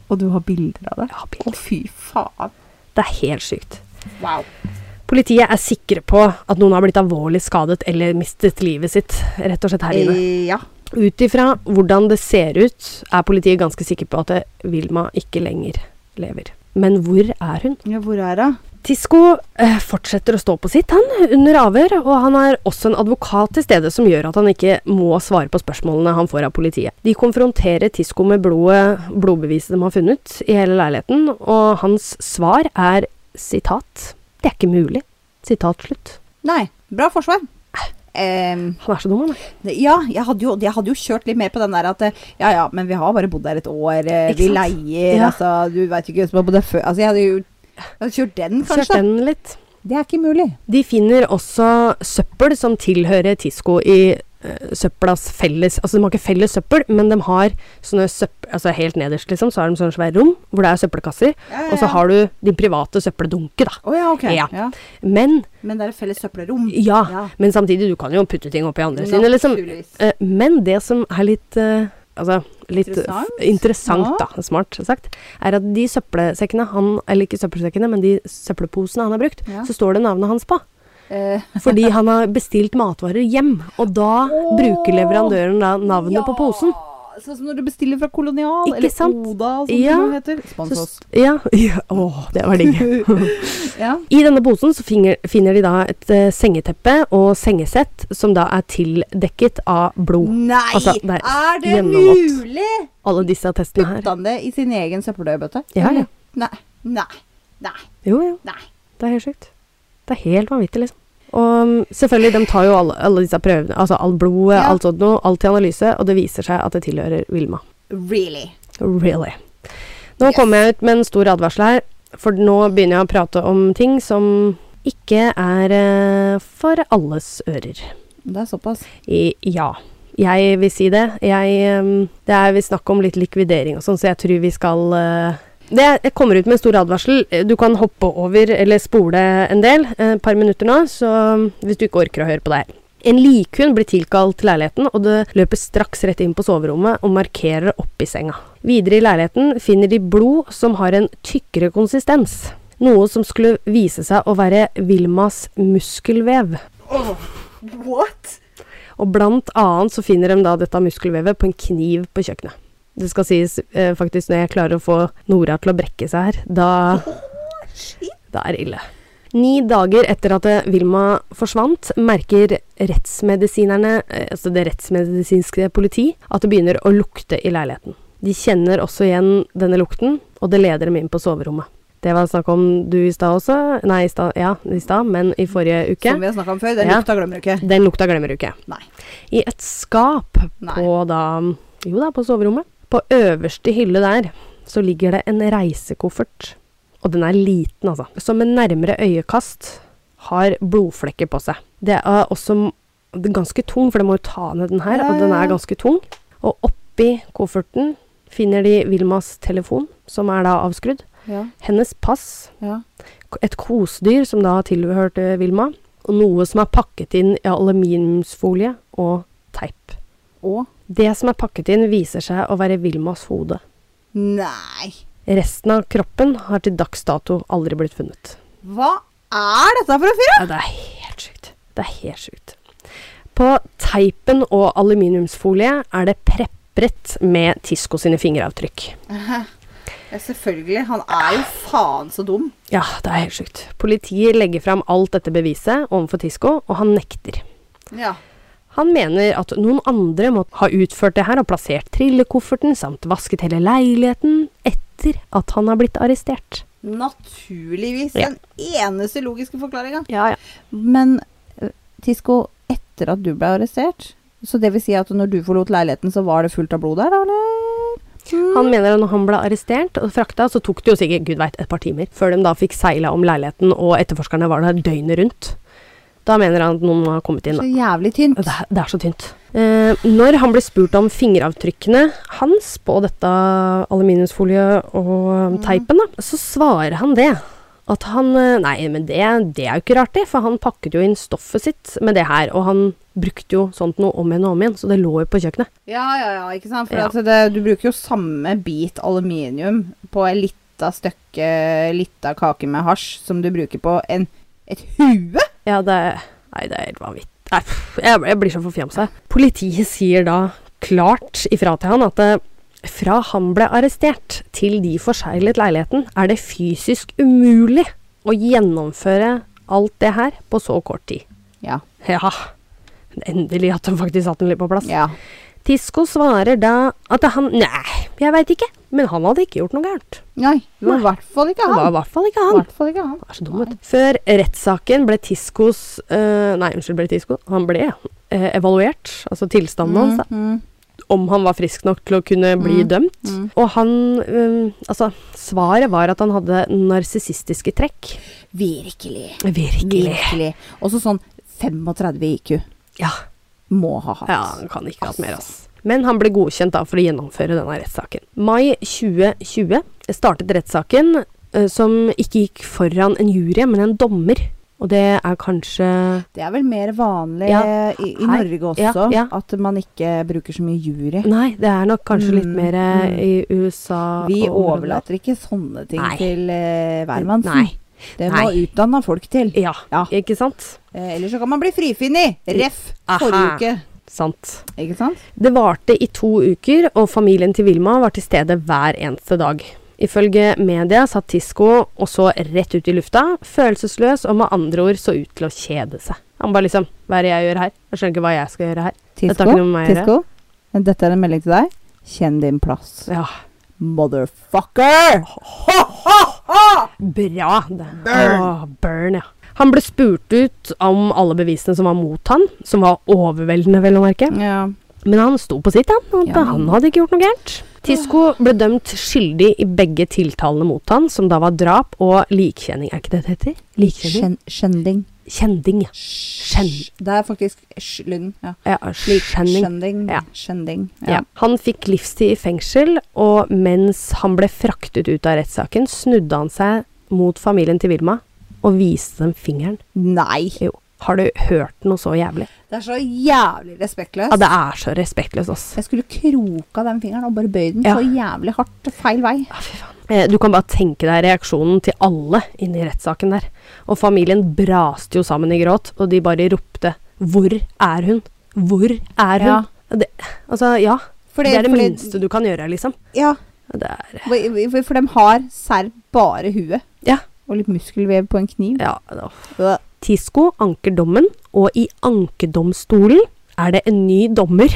[SPEAKER 2] Og du har bilder av det?
[SPEAKER 1] Jeg har
[SPEAKER 2] Å,
[SPEAKER 1] bilder.
[SPEAKER 2] fy faen.
[SPEAKER 1] Det er helt sykt.
[SPEAKER 2] Wow.
[SPEAKER 1] Politiet er sikre på at noen har blitt alvorlig skadet eller mistet livet sitt rett og slett her inne.
[SPEAKER 2] Eh, ja.
[SPEAKER 1] Ut ifra hvordan det ser ut, er politiet ganske sikre på at eh, Vilma ikke lenger lever. Men hvor er hun?
[SPEAKER 2] ja, hvor er hun?
[SPEAKER 1] Tisco eh, fortsetter å stå på sitt han, under avhør, og han er også en advokat til stede som gjør at han ikke må svare på spørsmålene han får av politiet. De konfronterer Tisco med blodet, blodbeviset de har funnet i hele leiligheten, og hans svar er sitat 'Det er ikke mulig'. Sitat slutt.
[SPEAKER 2] Nei, bra forsvar. Em,
[SPEAKER 1] Han er så dum, han. er.
[SPEAKER 2] det- ja, jeg hadde, jo, jeg hadde jo kjørt litt mer på den der at eh, ja ja, men vi har bare bodd der et år, eh,
[SPEAKER 1] Ikke
[SPEAKER 2] vi
[SPEAKER 1] sant?
[SPEAKER 2] leier,
[SPEAKER 1] Ja.
[SPEAKER 2] altså du veit jo ikke hvem som har bodd der før Altså jeg hadde jo jeg hadde kjørt den, kanskje.
[SPEAKER 1] Kjørt den litt.
[SPEAKER 2] da. Det er ikke mulig.
[SPEAKER 1] De finner også søppel som tilhører Tisco i eh, søppelas felles Altså, de har ikke felles søppel, men de har sånne søppel... Altså, helt nederst, liksom, så har de sånne svære rom hvor det er søppelkasser.
[SPEAKER 2] Ja, ja,
[SPEAKER 1] Og så
[SPEAKER 2] ja.
[SPEAKER 1] har du din private søppeldunke, da.
[SPEAKER 2] Å ja, ok.
[SPEAKER 1] Ja.
[SPEAKER 2] Ja.
[SPEAKER 1] Men
[SPEAKER 2] Men det er et felles søppelrom.
[SPEAKER 1] ja,
[SPEAKER 2] Ja.
[SPEAKER 1] Men samtidig, du kan jo putte ting oppi andre sine, liksom.
[SPEAKER 2] Naturligvis.
[SPEAKER 1] Eh, Men det som er litt eh, Altså, litt eh,
[SPEAKER 2] Interessant.
[SPEAKER 1] f- interessant
[SPEAKER 2] Ja.
[SPEAKER 1] da, smart sagt, er at de søppelsekkene han Eller ikke søppelsekkene, men de søppelposene han har brukt,
[SPEAKER 2] Ja.
[SPEAKER 1] så står det navnet hans på.
[SPEAKER 2] Eh,
[SPEAKER 1] Fordi han har bestilt matvarer hjem, og da
[SPEAKER 2] Åh!
[SPEAKER 1] bruker leverandøren da navnet
[SPEAKER 2] ja,
[SPEAKER 1] på posen.
[SPEAKER 2] Sånn som når du bestiller fra Kolonial,
[SPEAKER 1] Ikke
[SPEAKER 2] eller
[SPEAKER 1] sant?
[SPEAKER 2] Oda, og sånt
[SPEAKER 1] Ja.
[SPEAKER 2] som det heter.
[SPEAKER 1] Så,
[SPEAKER 2] Spons oss.
[SPEAKER 1] s- ja, ja, åh, det var digg.
[SPEAKER 2] ja.
[SPEAKER 1] I denne posen så finger, finner de da et eh, sengeteppe og sengesett som da er tildekket av blod.
[SPEAKER 2] Nei,
[SPEAKER 1] Altså, det er
[SPEAKER 2] er det
[SPEAKER 1] gjennomvått.
[SPEAKER 2] mulig?
[SPEAKER 1] Alle disse attestene her.
[SPEAKER 2] Putta han det i sin egen søppeldøybøtte?
[SPEAKER 1] Ja, ja.
[SPEAKER 2] Nei, nei, nei,
[SPEAKER 1] Jo, jo.
[SPEAKER 2] nei.
[SPEAKER 1] Det er helt sjukt. Det er helt vanvittig, liksom. Og mm, selvfølgelig, de tar jo alle, alle disse prøvene, altså all blodet,
[SPEAKER 2] Ja.
[SPEAKER 1] alt sånt noe, alt til analyse, og det viser seg at det tilhører Vilma.
[SPEAKER 2] Really?
[SPEAKER 1] Really. Nå
[SPEAKER 2] Yes.
[SPEAKER 1] kommer jeg ut med en stor advarsel her, for nå begynner jeg å prate om ting som ikke er eh, for alles ører.
[SPEAKER 2] Det er såpass.
[SPEAKER 1] I, ja. Jeg vil si det. Jeg, eh, det er vi snakk om litt likvidering og sånn, så jeg tror vi skal eh, det, Jeg kommer ut med en stor advarsel. Eh, Du kan hoppe over eller spole en del, eh, et par minutter nå, så mm, hvis du ikke orker å høre på det her. En likhund blir tilkalt til leiligheten, og det løper straks rett inn på soverommet og markerer opp i senga. Videre i leiligheten finner de blod som har en tykkere konsistens. Noe som skulle vise seg å være Vilmas muskelvev.
[SPEAKER 2] What?
[SPEAKER 1] Og blant annet så finner de da dette muskelvevet på en kniv på kjøkkenet. Det skal sies eh, faktisk når jeg klarer å få Nora til å brekke seg her, da Det er det ille. Ni dager etter at eh, Vilma forsvant, merker rettsmedisinerne, eh, altså det rettsmedisinske politi, at det begynner å lukte i leiligheten. De kjenner også igjen denne lukten, og det leder dem inn på soverommet. Det var snakk om du i stad også. Nei, i stad, ja, i stad, men i forrige uke.
[SPEAKER 2] Som vi har snakka om før, den
[SPEAKER 1] Ja.
[SPEAKER 2] lukta glemmer du ikke.
[SPEAKER 1] Den lukta glemmer du ikke.
[SPEAKER 2] Nei.
[SPEAKER 1] I et skap
[SPEAKER 2] Nei.
[SPEAKER 1] på da Jo da, på soverommet. På øverste hylle der så ligger det en reisekoffert. Og den er liten, altså. Som med nærmere øyekast har blodflekker på seg. Det er også m- det er ganske tung, for det må jo ta ned den her,
[SPEAKER 2] Ja,
[SPEAKER 1] og
[SPEAKER 2] ja,
[SPEAKER 1] den er
[SPEAKER 2] ja.
[SPEAKER 1] ganske tung. Og oppi kofferten finner de Vilmas telefon, som er da avskrudd.
[SPEAKER 2] Ja,
[SPEAKER 1] Hennes pass,
[SPEAKER 2] ja.
[SPEAKER 1] et kosedyr som da tilhørte Vilma, og noe som er pakket inn i aluminiumsfolie og teip.
[SPEAKER 2] Og
[SPEAKER 1] Det som er pakket inn, viser seg å være Vilmas hode.
[SPEAKER 2] Nei.
[SPEAKER 1] Resten av kroppen har til dags dato aldri blitt funnet.
[SPEAKER 2] Hva er dette for en fyr?
[SPEAKER 1] Ja, det er helt sjukt. Det er helt sjukt. På teipen og aluminiumsfolie er det prepret med Tisco sine fingeravtrykk.
[SPEAKER 2] Ja, selvfølgelig. Han er jo faen så dum.
[SPEAKER 1] Ja, det er helt sjukt. Politiet legger fram alt dette beviset overfor Tisco, og han nekter.
[SPEAKER 2] Ja.
[SPEAKER 1] Han mener at noen andre må ha utført det her og plassert trillekofferten samt vasket hele leiligheten etter at han har blitt arrestert.
[SPEAKER 2] Naturligvis.
[SPEAKER 1] Ja.
[SPEAKER 2] Den eneste logiske forklaringa.
[SPEAKER 1] Ja, ja.
[SPEAKER 2] Men eh, Tisco, etter at du ble arrestert Så det vil si at når du forlot leiligheten, så var det fullt av blod der, da, eller? Mm.
[SPEAKER 1] Han mener at når han ble arrestert og frakta, så tok det jo sikkert gud vet, et par timer før de da fikk seila om leiligheten, og etterforskerne var der døgnet rundt. Da mener han at noen har kommet inn. da.
[SPEAKER 2] Så jævlig tynt.
[SPEAKER 1] Det er, det er så tynt. Eh, når han blir spurt om fingeravtrykkene hans på dette aluminiumsfoliet og um, teipen, da, så svarer han det. At han eh, Nei, men det, det er jo ikke rart, det. For han pakket jo inn stoffet sitt med det her. Og han brukte jo sånt noe om igjen og om igjen, så det lå jo på kjøkkenet.
[SPEAKER 2] Ja, ja, ja, ikke sant? For
[SPEAKER 1] Ja.
[SPEAKER 2] altså det, du bruker jo samme bit aluminium på en lita støkke, lita kake med hasj, som du bruker på en, et hue.
[SPEAKER 1] Ja, det Nei, det er helt vanvittig. Nei, pff, Jeg, jeg blir så forfjamsa. Politiet sier da klart ifra til han at eh, fra han ble arrestert til de forseglet leiligheten, er det fysisk umulig å gjennomføre alt det her på så kort tid.
[SPEAKER 2] Ja,
[SPEAKER 1] Ja, endelig at de faktisk satte den litt på plass.
[SPEAKER 2] ja.
[SPEAKER 1] Tisco svarer da at han Nei, jeg veit ikke, men han hadde ikke gjort noe gærent.
[SPEAKER 2] Nei, det var i hvert fall ikke
[SPEAKER 1] Det var i
[SPEAKER 2] han.
[SPEAKER 1] hvert fall ikke
[SPEAKER 2] I
[SPEAKER 1] han.
[SPEAKER 2] hvert fall ikke han.
[SPEAKER 1] Han er så dum, vet du. Før rettssaken ble Tiscos eh, Nei, unnskyld, ble Tisco Han ble eh, evaluert, altså tilstanden hans, da,
[SPEAKER 2] Mm,
[SPEAKER 1] om han var frisk nok til å kunne bli
[SPEAKER 2] Mm,
[SPEAKER 1] dømt.
[SPEAKER 2] mm.
[SPEAKER 1] Og han eh, Altså, svaret var at han hadde narsissistiske trekk.
[SPEAKER 2] Virkelig.
[SPEAKER 1] Virkelig.
[SPEAKER 2] Virkelig. Også sånn 35 IQ
[SPEAKER 1] Ja.
[SPEAKER 2] må ha hatt.
[SPEAKER 1] ja. Han kan ikke ha hatt mer, ass. Men han ble godkjent da for å gjennomføre denne rettssaken. Mai 2020 startet rettssaken, eh, som ikke gikk foran en jury, men en dommer. Og det er kanskje
[SPEAKER 2] Det er vel mer vanlig
[SPEAKER 1] Ja,
[SPEAKER 2] i, i
[SPEAKER 1] her-
[SPEAKER 2] Norge
[SPEAKER 1] ja,
[SPEAKER 2] også,
[SPEAKER 1] ja.
[SPEAKER 2] at man ikke bruker så mye jury.
[SPEAKER 1] Nei, det er nok kanskje litt
[SPEAKER 2] Mm,
[SPEAKER 1] mer eh, i USA.
[SPEAKER 2] Vi
[SPEAKER 1] og området der.
[SPEAKER 2] overlater ikke sånne ting
[SPEAKER 1] Nei.
[SPEAKER 2] til eh, hvermannsen.
[SPEAKER 1] Nei.
[SPEAKER 2] Det må
[SPEAKER 1] Nei.
[SPEAKER 2] utdanna folk til.
[SPEAKER 1] Ja,
[SPEAKER 2] Ja.
[SPEAKER 1] ikke sant?
[SPEAKER 2] Eh, ellers så kan man bli frifunnet. Ref.
[SPEAKER 1] Aha.
[SPEAKER 2] forrige uke.
[SPEAKER 1] Sant.
[SPEAKER 2] Ikke sant?
[SPEAKER 1] Det varte i to uker, og familien til Vilma var til stede hver eneste dag. Ifølge media satt Tisco også rett ut i lufta, følelsesløs og med andre ord så ut til å kjede seg. Han bare liksom Hva er det jeg gjør her? Jeg skjønner ikke hva jeg skal gjøre her. Dette har
[SPEAKER 2] Tisco,
[SPEAKER 1] ikke noe med meg å gjøre.
[SPEAKER 2] Tisco, Eh, dette er en melding til deg. Kjenn din plass.
[SPEAKER 1] Ja,
[SPEAKER 2] Motherfucker!
[SPEAKER 1] Bra! Det. Burn. burn, ja. Han ble spurt ut om alle bevisene som var mot han, som var overveldende, vel å merke.
[SPEAKER 2] Ja.
[SPEAKER 1] Men han sto på sitt, han. Han,
[SPEAKER 2] Ja.
[SPEAKER 1] han hadde ikke gjort noe gærent. Tisco ble dømt skyldig i begge tiltalene mot han, som da var drap og likkjenning. Er ikke det det heter? Likkjenning?
[SPEAKER 2] Skjen- Skjending.
[SPEAKER 1] Kjending, ja.
[SPEAKER 2] Skjen- Det er faktisk sj-lyden. Ja.
[SPEAKER 1] ja
[SPEAKER 2] Lik-
[SPEAKER 1] skjending.
[SPEAKER 2] Skjending.
[SPEAKER 1] Ja.
[SPEAKER 2] Skjending.
[SPEAKER 1] Ja.
[SPEAKER 2] Ja.
[SPEAKER 1] Han fikk livstid i fengsel, og mens han ble fraktet ut av rettssaken, snudde han seg mot familien til Vilma og viste dem fingeren.
[SPEAKER 2] Nei!
[SPEAKER 1] Jo, har du hørt noe så jævlig?
[SPEAKER 2] Det er så jævlig respektløst.
[SPEAKER 1] Ja, det er så respektløst, ass.
[SPEAKER 2] Jeg skulle kroka den fingeren og bare bøyd den
[SPEAKER 1] Ja.
[SPEAKER 2] så jævlig hardt feil vei.
[SPEAKER 1] Ja, fy faen. Eh, Du kan bare tenke deg reaksjonen til alle inne i rettssaken der. Og familien braste jo sammen i gråt, og de bare ropte 'Hvor er hun?' 'Hvor er hun?'
[SPEAKER 2] Ja.
[SPEAKER 1] Det, altså, ja.
[SPEAKER 2] Fordi-
[SPEAKER 1] det er det
[SPEAKER 2] fordi-
[SPEAKER 1] minste du kan gjøre, liksom.
[SPEAKER 2] Ja,
[SPEAKER 1] Det er
[SPEAKER 2] for for de har serr bare huet
[SPEAKER 1] Ja.
[SPEAKER 2] og litt muskelvev på en kniv.
[SPEAKER 1] ja da.
[SPEAKER 2] Øh.
[SPEAKER 1] Tisco anker dommen, og i ankedomstolen er det en ny dommer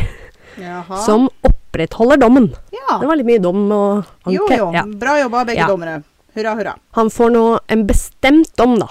[SPEAKER 1] som opprettholder dommen.
[SPEAKER 2] Ah. Ja.
[SPEAKER 1] Det var litt mye dom og anke.
[SPEAKER 2] Jo, jo.
[SPEAKER 1] Ja.
[SPEAKER 2] Bra jobba, begge
[SPEAKER 1] Ja.
[SPEAKER 2] dommere. Hurra, hurra.
[SPEAKER 1] Han får nå en bestemt dom, da.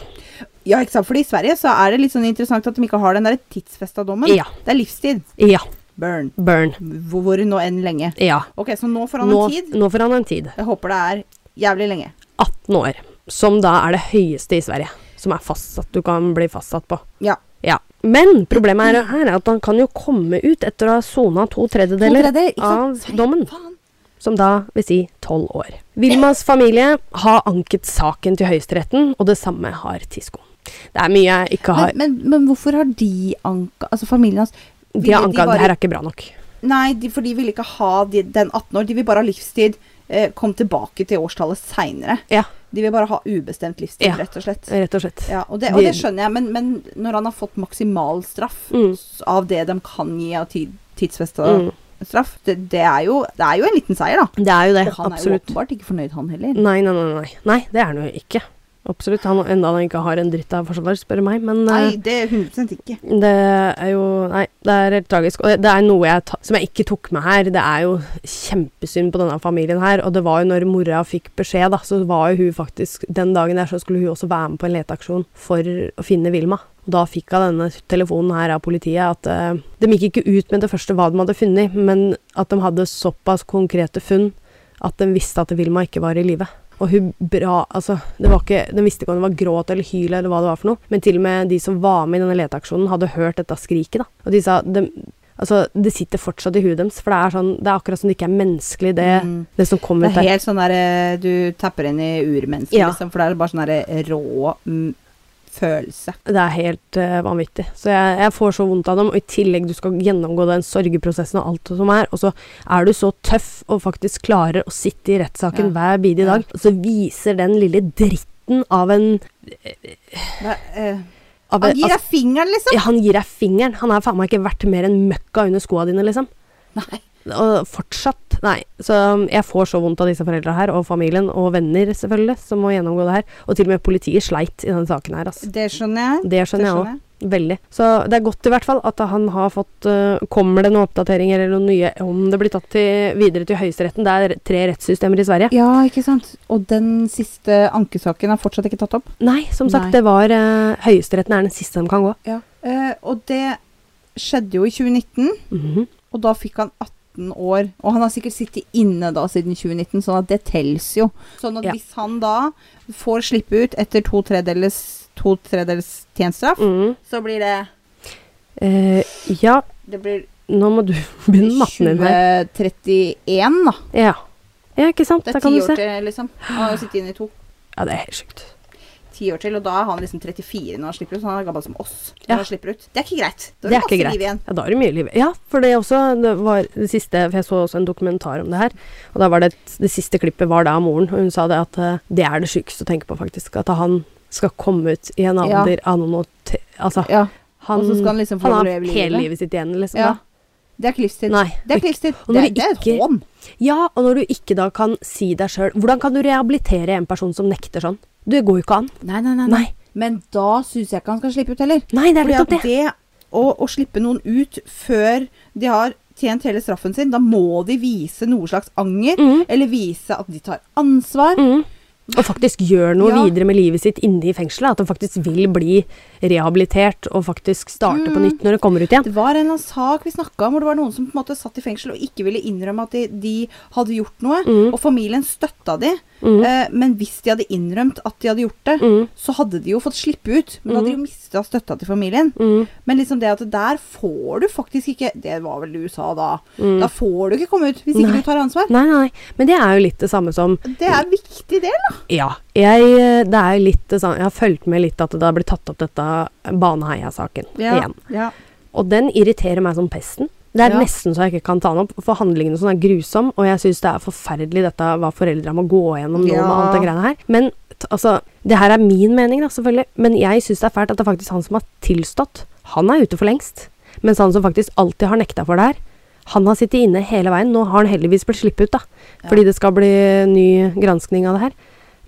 [SPEAKER 2] Ja, ikke sant? Fordi i Sverige så er det litt sånn interessant at de ikke har den der tidsfesta dommen.
[SPEAKER 1] Ja.
[SPEAKER 2] Det er livstid.
[SPEAKER 1] Ja.
[SPEAKER 2] Burn.
[SPEAKER 1] Burn.
[SPEAKER 2] Hvor, hvor nå enn lenge.
[SPEAKER 1] Ja.
[SPEAKER 2] Ok, så nå får han
[SPEAKER 1] Nå,
[SPEAKER 2] en tid.
[SPEAKER 1] nå får han en tid.
[SPEAKER 2] Jeg håper det er jævlig lenge.
[SPEAKER 1] 18 år, som da er det høyeste i Sverige, som er fastsatt, du kan bli fastsatt på.
[SPEAKER 2] Ja.
[SPEAKER 1] Ja. Men problemet er, her er at han kan jo komme ut etter å ha sona to tredjedeler
[SPEAKER 2] To tredjedeler, ikke sant?
[SPEAKER 1] av dommen,
[SPEAKER 2] Faen.
[SPEAKER 1] som da vil si tolv år. Vilmas familie har anket saken til Høyesteretten, og det samme har Tisco. Det er mye jeg ikke
[SPEAKER 2] Men,
[SPEAKER 1] har
[SPEAKER 2] men, men hvorfor har de anka Altså familien hans
[SPEAKER 1] De har
[SPEAKER 2] ville
[SPEAKER 1] anka
[SPEAKER 2] bare-
[SPEAKER 1] det her er ikke bra nok.
[SPEAKER 2] Nei, de, for de vil ikke ha de, den 18 år. De vil bare ha livstid. Eh, kom tilbake til årstallet seinere.
[SPEAKER 1] Ja,
[SPEAKER 2] De vil bare ha ubestemt livstid,
[SPEAKER 1] Ja. Eh,
[SPEAKER 2] rett og slett.
[SPEAKER 1] rett og slett.
[SPEAKER 2] Ja, og det, og
[SPEAKER 1] De-
[SPEAKER 2] det skjønner jeg, men, men når han har fått maksimal straff
[SPEAKER 1] Mm.
[SPEAKER 2] s- av det de kan gi av tid, tidsfesta
[SPEAKER 1] Mm.
[SPEAKER 2] straff, det, det, er jo, det er jo en liten seier, da.
[SPEAKER 1] Det er jo det.
[SPEAKER 2] Og han er jo
[SPEAKER 1] Absolutt.
[SPEAKER 2] åpenbart ikke fornøyd, han heller.
[SPEAKER 1] Nei, nei, nei, nei. Nei, det er han jo ikke. Absolutt. Han, enda han ikke har en dritt av forsvarer, spør du meg. Men
[SPEAKER 2] Nei,
[SPEAKER 1] eh,
[SPEAKER 2] det er 100 ikke.
[SPEAKER 1] det er jo Nei, det er helt tragisk. Og det- det er noe jeg ta, som jeg ikke tok med her. Det er jo kjempesynd på denne familien her. Og det var jo når mora fikk beskjed, da, så var jo hun faktisk Den dagen der så skulle hun også være med på en leteaksjon for å finne Vilma. Og da fikk hun denne telefonen her av politiet at eh, de gikk ikke ut med det første hva de hadde funnet, men at de hadde såpass konkrete funn at de visste at Vilma ikke var i live. Og hun bra, altså, det var ikke, De visste ikke om det var gråt eller hyl, eller hva det var for noe. Men til og med de som var med i denne leteaksjonen, hadde hørt dette skriket. da. Og de sa de, altså, Det sitter fortsatt i huet deres, for det er, sånn, det er akkurat som det ikke er menneskelig, det,
[SPEAKER 2] Mm.
[SPEAKER 1] det som
[SPEAKER 2] Det
[SPEAKER 1] kommer ut
[SPEAKER 2] er
[SPEAKER 1] der.
[SPEAKER 2] helt sånn der eh, du tapper inn i urmennesket,
[SPEAKER 1] Ja.
[SPEAKER 2] liksom. For det er bare sånn der rå mm, følelse.
[SPEAKER 1] Det er helt eh, vanvittig. Så jeg, jeg får så vondt av dem. Og i tillegg, du skal gjennomgå den sorgeprosessen og alt som er. Og så er du så tøff og faktisk klarer å sitte i rettssaken
[SPEAKER 2] Ja.
[SPEAKER 1] hver bidige
[SPEAKER 2] Ja.
[SPEAKER 1] dag. Og så viser den lille dritten av en,
[SPEAKER 2] Det, eh,
[SPEAKER 1] av
[SPEAKER 2] han
[SPEAKER 1] en
[SPEAKER 2] gir deg fingeren, liksom!
[SPEAKER 1] Ja, han gir deg fingeren. Han er faen meg ikke verdt mer enn møkka under skoa dine, liksom.
[SPEAKER 2] Nei.
[SPEAKER 1] Og fortsatt. Nei. Så um, jeg får så vondt av disse foreldra her, og familien, og venner, selvfølgelig, som må gjennomgå det her. Og til og med politiet sleit i denne saken her, altså.
[SPEAKER 2] Det skjønner jeg.
[SPEAKER 1] Det skjønner jeg òg. Veldig. Så det er godt i hvert fall at han har fått eh, Kommer det noen oppdateringer eller noe nye om det blir tatt til, videre til Høyesteretten? Det er tre rettssystemer i Sverige.
[SPEAKER 2] Ja, ikke sant. Og den siste ankesaken er fortsatt ikke tatt opp.
[SPEAKER 1] Nei, som sagt,
[SPEAKER 2] Nei.
[SPEAKER 1] det var eh, Høyesteretten er den siste de kan gå.
[SPEAKER 2] Eh, og det skjedde jo i 2019,
[SPEAKER 1] Mhm.
[SPEAKER 2] og da fikk han 18 år. Og han har sikkert sittet inne da siden 2019, sånn at det telles jo. Sånn at
[SPEAKER 1] Ja.
[SPEAKER 2] hvis han da får slippe ut etter to tredjedels, to tredjedels tjenestestraff,
[SPEAKER 1] Mhm.
[SPEAKER 2] så blir det
[SPEAKER 1] Eh, ja,
[SPEAKER 2] Det blir
[SPEAKER 1] nå må du begynne matten din her.
[SPEAKER 2] 2031, da.
[SPEAKER 1] Ja. ja, ikke sant?
[SPEAKER 2] Det
[SPEAKER 1] Da
[SPEAKER 2] er
[SPEAKER 1] kan
[SPEAKER 2] ti
[SPEAKER 1] du
[SPEAKER 2] år
[SPEAKER 1] se.
[SPEAKER 2] til, liksom. Han har jo sittet inne i to.
[SPEAKER 1] Ja, det er helt sjukt.
[SPEAKER 2] ti år til, og da er han liksom 34 når han slipper ut. Så han er gammel som oss når
[SPEAKER 1] Ja.
[SPEAKER 2] han slipper ut. Det er ikke greit. Da
[SPEAKER 1] Det
[SPEAKER 2] har
[SPEAKER 1] er
[SPEAKER 2] du
[SPEAKER 1] ikke
[SPEAKER 2] masse
[SPEAKER 1] greit.
[SPEAKER 2] liv igjen.
[SPEAKER 1] Ja, da er det mye liv. Ja, for det også det var det siste For jeg så også en dokumentar om det her. Og da var det det siste klippet var da av moren, og hun sa det at eh, det er det sjukeste å tenke på, faktisk. At han skal komme ut i en
[SPEAKER 2] Ja.
[SPEAKER 1] alder av noen og te... Altså,
[SPEAKER 2] Ja,
[SPEAKER 1] han,
[SPEAKER 2] og så skal han liksom få
[SPEAKER 1] han har
[SPEAKER 2] leve livet.
[SPEAKER 1] hele livet sitt igjen, liksom.
[SPEAKER 2] ja.
[SPEAKER 1] Da.
[SPEAKER 2] Det er ikke livstid.
[SPEAKER 1] Nei.
[SPEAKER 2] Det er ikke livstid.
[SPEAKER 1] Og
[SPEAKER 2] Det,
[SPEAKER 1] når
[SPEAKER 2] er-
[SPEAKER 1] vi
[SPEAKER 2] det er et
[SPEAKER 1] ikke-
[SPEAKER 2] hån.
[SPEAKER 1] Ja, og når du ikke da kan si deg sjøl Hvordan kan du rehabilitere en person som nekter sånn? Det går jo ikke an.
[SPEAKER 2] Nei, nei, nei.
[SPEAKER 1] Nei.
[SPEAKER 2] Men da syns jeg ikke han skal slippe ut heller.
[SPEAKER 1] Nei, det er
[SPEAKER 2] Fordi at
[SPEAKER 1] nettopp det.
[SPEAKER 2] det å, å slippe noen ut før de har tjent hele straffen sin, da må de vise noe slags anger,
[SPEAKER 1] Mhm.
[SPEAKER 2] eller vise at de tar ansvar.
[SPEAKER 1] Mm. Og faktisk gjør noe
[SPEAKER 2] Ja.
[SPEAKER 1] videre med livet sitt inne i fengselet. At han faktisk vil bli rehabilitert og faktisk starte på
[SPEAKER 2] Mm.
[SPEAKER 1] nytt når det kommer ut igjen.
[SPEAKER 2] Det var en eller annen sak vi snakka om, hvor det var noen som på en måte satt i fengsel og ikke ville innrømme at de, de hadde gjort noe.
[SPEAKER 1] Mm.
[SPEAKER 2] Og familien støtta de.
[SPEAKER 1] Mm.
[SPEAKER 2] Eh, men hvis de hadde innrømt at de hadde gjort det,
[SPEAKER 1] Mm.
[SPEAKER 2] så hadde de jo fått slippe ut. Men da hadde de jo mista støtta til familien.
[SPEAKER 1] Mm.
[SPEAKER 2] Men liksom det at der får du faktisk ikke Det var vel i USA da. Da får du ikke komme ut hvis ikke
[SPEAKER 1] Mm. Nei.
[SPEAKER 2] du tar ansvar.
[SPEAKER 1] Nei, nei, men det er jo litt det samme som
[SPEAKER 2] Det er en viktig del, da.
[SPEAKER 1] Ja, jeg, eh, det er jo litt det samme Jeg har fulgt med litt at det har blitt tatt opp dette Baneheia-saken igjen.
[SPEAKER 2] ja.
[SPEAKER 1] Og den irriterer meg som pesten. Det er
[SPEAKER 2] Ja.
[SPEAKER 1] nesten så jeg ikke kan ta den opp, for handlingene sånn er grusom, og jeg syns det er forferdelig dette hva foreldra må gå gjennom nå med
[SPEAKER 2] Ja.
[SPEAKER 1] alt det greiene her. Men t- altså, det her er min mening da, selvfølgelig, men jeg syns det er fælt at det er faktisk han som har tilstått, han er ute for lengst. Mens han som faktisk alltid har nekta for det her, han har sittet inne hele veien. Nå har han heldigvis blitt sluppet ut, da. Fordi det skal bli ny granskning av det her.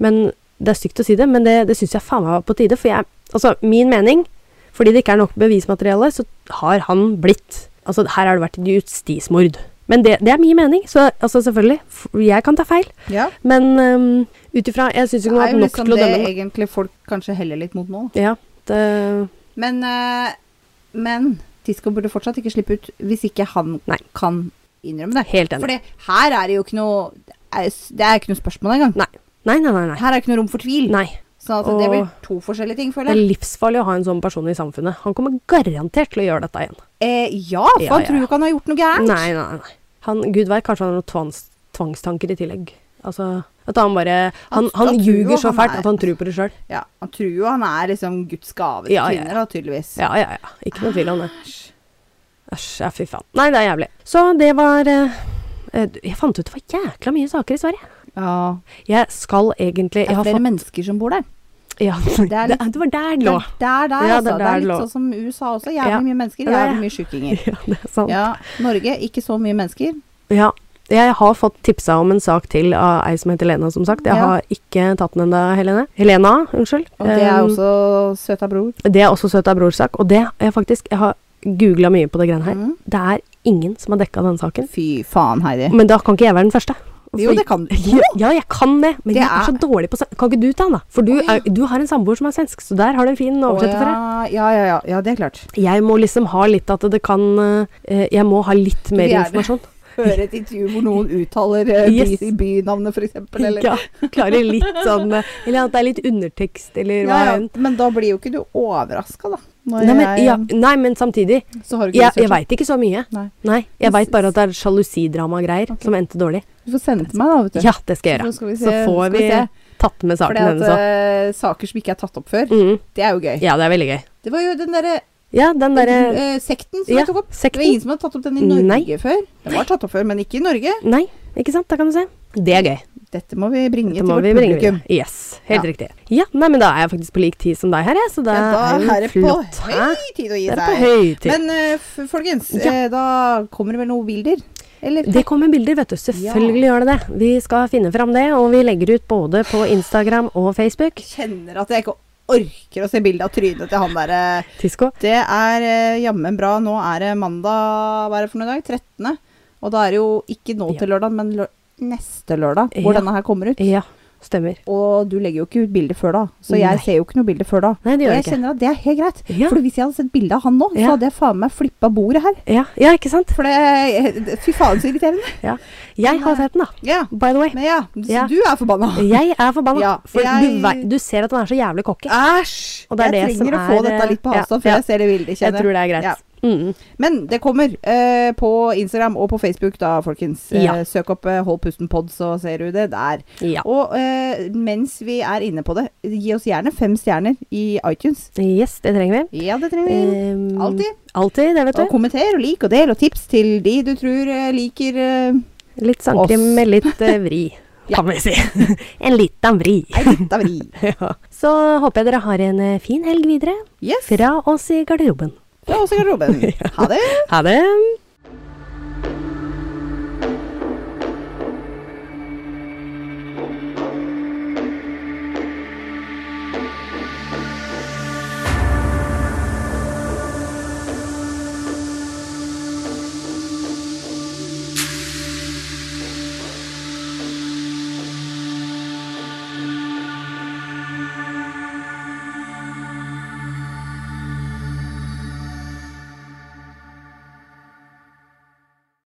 [SPEAKER 1] Men det er stygt å si det, men det, det syns jeg faen meg var på tide. For jeg, altså, min mening fordi det ikke er nok bevismateriale, så har han blitt Altså, her har det vært et justismord. Men det, det er min mening, så altså, selvfølgelig. f- Jeg kan ta feil.
[SPEAKER 2] ja.
[SPEAKER 1] Men um, ut ifra Jeg syns
[SPEAKER 2] Det
[SPEAKER 1] ikke hun har
[SPEAKER 2] er
[SPEAKER 1] hatt
[SPEAKER 2] jo
[SPEAKER 1] nok
[SPEAKER 2] liksom
[SPEAKER 1] til å
[SPEAKER 2] det
[SPEAKER 1] dømme.
[SPEAKER 2] egentlig folk kanskje heller litt mot nå. da.
[SPEAKER 1] Ja, det,
[SPEAKER 2] Men, eh, men Tisco burde fortsatt ikke slippe ut hvis ikke han
[SPEAKER 1] Nei.
[SPEAKER 2] kan innrømme det.
[SPEAKER 1] helt
[SPEAKER 2] For
[SPEAKER 1] enig.
[SPEAKER 2] det, her er det jo ikke noe Det er, det er ikke noe spørsmål engang.
[SPEAKER 1] Nei. Nei, nei, nei. nei.
[SPEAKER 2] Her er det ikke noe rom for tvil.
[SPEAKER 1] nei.
[SPEAKER 2] Sånn at det
[SPEAKER 1] Og-
[SPEAKER 2] blir to forskjellige ting,
[SPEAKER 1] Det
[SPEAKER 2] føler
[SPEAKER 1] er
[SPEAKER 2] jeg.
[SPEAKER 1] livsfarlig å ha en sånn person i samfunnet. Han kommer garantert til å gjøre dette igjen.
[SPEAKER 2] Eh, ja, for
[SPEAKER 1] Ja,
[SPEAKER 2] han
[SPEAKER 1] ja.
[SPEAKER 2] tror jo ikke han har gjort noe gærent.
[SPEAKER 1] Nei, nei, nei. Han, Gud veit, kanskje han har noen tvangs, tvangstanker i tillegg. Altså At han bare Han, han,
[SPEAKER 2] da tror jo
[SPEAKER 1] ljuger så
[SPEAKER 2] han
[SPEAKER 1] fælt
[SPEAKER 2] er-
[SPEAKER 1] at han tror på det sjøl.
[SPEAKER 2] Ja, han tror jo han er liksom Guds gave til
[SPEAKER 1] Ja, ja, ja.
[SPEAKER 2] kvinner, da, tydeligvis.
[SPEAKER 1] Ja, ja, ja. Ikke noe tvil om det. Æsj, ja, fy faen. Nei, det er jævlig. Så det var eh, eh, Jeg fant ut det var jækla mye saker i Sverige.
[SPEAKER 2] Ja.
[SPEAKER 1] Jeg skal egentlig
[SPEAKER 2] Det
[SPEAKER 1] jeg
[SPEAKER 2] er
[SPEAKER 1] har
[SPEAKER 2] flere
[SPEAKER 1] fått,
[SPEAKER 2] mennesker som bor der.
[SPEAKER 1] ja,
[SPEAKER 2] Det er
[SPEAKER 1] det,
[SPEAKER 2] litt-
[SPEAKER 1] det var der det
[SPEAKER 2] Det
[SPEAKER 1] lå.
[SPEAKER 2] er der, der,
[SPEAKER 1] Ja,
[SPEAKER 2] altså.
[SPEAKER 1] det er
[SPEAKER 2] Det
[SPEAKER 1] der
[SPEAKER 2] er
[SPEAKER 1] lå.
[SPEAKER 2] litt sånn som USA også. Jævlig
[SPEAKER 1] Ja.
[SPEAKER 2] mye mennesker,
[SPEAKER 1] Ja, ja.
[SPEAKER 2] jævlig mye sjukinger.
[SPEAKER 1] Ja, det er sant.
[SPEAKER 2] Ja, Norge, ikke så mye mennesker.
[SPEAKER 1] Ja. Jeg har fått tipsa om en sak til av ei som heter Lena, som sagt. Jeg
[SPEAKER 2] Ja.
[SPEAKER 1] har ikke tatt den ennå, Helene. Helena, unnskyld.
[SPEAKER 2] Og det er
[SPEAKER 1] Um,
[SPEAKER 2] også søt av bror.
[SPEAKER 1] det er også søt av brors sak. Og det er faktisk Jeg har googla mye på det greiene her.
[SPEAKER 2] Mm.
[SPEAKER 1] Det er ingen som har dekka den saken.
[SPEAKER 2] Fy faen, Heidi.
[SPEAKER 1] Men da kan ikke jeg være den første.
[SPEAKER 2] Mm. Jo, det kan
[SPEAKER 1] Ja, ja, jeg kan det, men
[SPEAKER 2] Det
[SPEAKER 1] jeg er så
[SPEAKER 2] er-
[SPEAKER 1] dårlig på svensk. Kan ikke du ta den, da? For du,
[SPEAKER 2] Å, ja.
[SPEAKER 1] er, du har en samboer som er svensk, så der har du en fin
[SPEAKER 2] Å,
[SPEAKER 1] oversetter for deg.
[SPEAKER 2] ja, ja, ja, ja, ja, det er klart.
[SPEAKER 1] Jeg må liksom ha litt at det kan eh, Jeg må ha litt mer
[SPEAKER 2] Vi er-
[SPEAKER 1] informasjon.
[SPEAKER 2] Høre et intervju hvor noen uttaler eh,
[SPEAKER 1] Yes.
[SPEAKER 2] by, bynavnet, for eksempel. Eller,
[SPEAKER 1] Ja, klarer litt sånn eh, Eller at det er litt undertekst, eller hva
[SPEAKER 2] Ja, ja,
[SPEAKER 1] enn.
[SPEAKER 2] Men da blir jo ikke du overraska, da. Når
[SPEAKER 1] Nei men,
[SPEAKER 2] jeg,
[SPEAKER 1] ja, nei, men samtidig.
[SPEAKER 2] Så har du ikke
[SPEAKER 1] Jeg, jeg
[SPEAKER 2] researcha.
[SPEAKER 1] veit ikke så mye.
[SPEAKER 2] Nei.
[SPEAKER 1] Nei, jeg
[SPEAKER 2] Men s-
[SPEAKER 1] veit bare at det er sjalusidrama-greier
[SPEAKER 2] Ok.
[SPEAKER 1] som endte dårlig.
[SPEAKER 2] Du får sende til meg, da, vet du.
[SPEAKER 1] Ja, det skal jeg
[SPEAKER 2] Så
[SPEAKER 1] gjøre.
[SPEAKER 2] skal vi
[SPEAKER 1] Så
[SPEAKER 2] se-
[SPEAKER 1] får
[SPEAKER 2] skal
[SPEAKER 1] vi
[SPEAKER 2] se.
[SPEAKER 1] tatt med
[SPEAKER 2] Fordi
[SPEAKER 1] saken
[SPEAKER 2] at
[SPEAKER 1] hennes òg.
[SPEAKER 2] eh, saker som ikke er tatt opp før,
[SPEAKER 1] Mm.
[SPEAKER 2] det er jo gøy.
[SPEAKER 1] Ja, det er veldig gøy.
[SPEAKER 2] Det var jo den derre
[SPEAKER 1] Ja, den derre
[SPEAKER 2] eh, sekten som
[SPEAKER 1] ja,
[SPEAKER 2] jeg tok opp. Det var
[SPEAKER 1] sekten.
[SPEAKER 2] ingen som hadde tatt opp den i Norge
[SPEAKER 1] Nei.
[SPEAKER 2] før. Den var tatt opp før, men ikke i Norge.
[SPEAKER 1] Nei, ikke sant? Da kan du se. Det er gøy.
[SPEAKER 2] Dette må vi bringe
[SPEAKER 1] Dette
[SPEAKER 2] til
[SPEAKER 1] må
[SPEAKER 2] vårt
[SPEAKER 1] vi bringe
[SPEAKER 2] publikum.
[SPEAKER 1] videre. Yes, helt
[SPEAKER 2] Ja.
[SPEAKER 1] riktig. Ja, nei, men da er jeg faktisk på lik tid som deg her, jeg, så det
[SPEAKER 2] Ja, da
[SPEAKER 1] er jo
[SPEAKER 2] er det på
[SPEAKER 1] flott. Hæ?
[SPEAKER 2] høy tid å gi
[SPEAKER 1] Det er på
[SPEAKER 2] seg.
[SPEAKER 1] høy tid.
[SPEAKER 2] Men eh, f- folkens,
[SPEAKER 1] Ja.
[SPEAKER 2] eh, da kommer det vel noen bilder? Eller?
[SPEAKER 1] Det kommer bilder, vet du. Selvfølgelig gjør det det. Vi skal finne fram det, og vi legger ut både på Instagram og Facebook.
[SPEAKER 2] Kjenner at jeg ikke orker å se bilde av trynet til han derre
[SPEAKER 1] Tisko.
[SPEAKER 2] Det er eh, jammen bra. Nå er det mandag, hva er det for noen dag? 13. Og da er det jo ikke nå
[SPEAKER 1] Ja.
[SPEAKER 2] til lørdag, men lø neste lørdag, hvor
[SPEAKER 1] Ja.
[SPEAKER 2] denne her kommer ut.
[SPEAKER 1] Ja, stemmer.
[SPEAKER 2] Og du legger jo ikke ut bilde før da, så jeg
[SPEAKER 1] Nei.
[SPEAKER 2] ser jo ikke noe bilde før da.
[SPEAKER 1] Nei, det gjør
[SPEAKER 2] og
[SPEAKER 1] jeg
[SPEAKER 2] jeg
[SPEAKER 1] ikke.
[SPEAKER 2] kjenner at det er helt greit.
[SPEAKER 1] Ja.
[SPEAKER 2] For hvis jeg hadde sett bilde av han nå, så
[SPEAKER 1] Ja.
[SPEAKER 2] hadde jeg faen meg flippa bordet her.
[SPEAKER 1] Ja, ja, ikke sant?
[SPEAKER 2] For det eh, Fy faen, så irriterende.
[SPEAKER 1] Ja. Jeg har sett den, da.
[SPEAKER 2] Ja.
[SPEAKER 1] By the way.
[SPEAKER 2] Men ja, så
[SPEAKER 1] Ja.
[SPEAKER 2] du er forbanna.
[SPEAKER 1] Jeg er forbanna.
[SPEAKER 2] Ja,
[SPEAKER 1] for du,
[SPEAKER 2] jeg-
[SPEAKER 1] vei- du ser at den er så jævlig cocky.
[SPEAKER 2] Æsj!
[SPEAKER 1] Og det er
[SPEAKER 2] jeg
[SPEAKER 1] det som
[SPEAKER 2] trenger å få
[SPEAKER 1] er,
[SPEAKER 2] dette litt på
[SPEAKER 1] ja,
[SPEAKER 2] avstand før
[SPEAKER 1] ja.
[SPEAKER 2] jeg ser det bildet.
[SPEAKER 1] Jeg
[SPEAKER 2] kjenner
[SPEAKER 1] tror det er greit.
[SPEAKER 2] Ja.
[SPEAKER 1] Mm.
[SPEAKER 2] Men det kommer eh, på Instagram og på Facebook da, folkens. Eh,
[SPEAKER 1] Ja.
[SPEAKER 2] Søk opp eh, Hold pusten pod, så ser du det der.
[SPEAKER 1] Ja.
[SPEAKER 2] Og eh, mens vi er inne på det, gi oss gjerne fem stjerner i iTunes.
[SPEAKER 1] Yes, det trenger vi.
[SPEAKER 2] Ja, det trenger vi.
[SPEAKER 1] Ehm,
[SPEAKER 2] Mm. Alltid.
[SPEAKER 1] Alltid, det vet
[SPEAKER 2] Og
[SPEAKER 1] du.
[SPEAKER 2] kommenter og lik og del og tips til de du tror eh, liker eh,
[SPEAKER 1] Litt sandkrim
[SPEAKER 2] Oss.
[SPEAKER 1] med litt eh, vri,
[SPEAKER 2] Ja.
[SPEAKER 1] kan vi si. en liten vri.
[SPEAKER 2] ei lita vri.
[SPEAKER 1] ja. Så håper jeg dere har en eh, fin helg videre.
[SPEAKER 2] Yes.
[SPEAKER 1] Fra oss i garderoben.
[SPEAKER 2] Fra oss i garderoben. Ha det.
[SPEAKER 1] Ha det!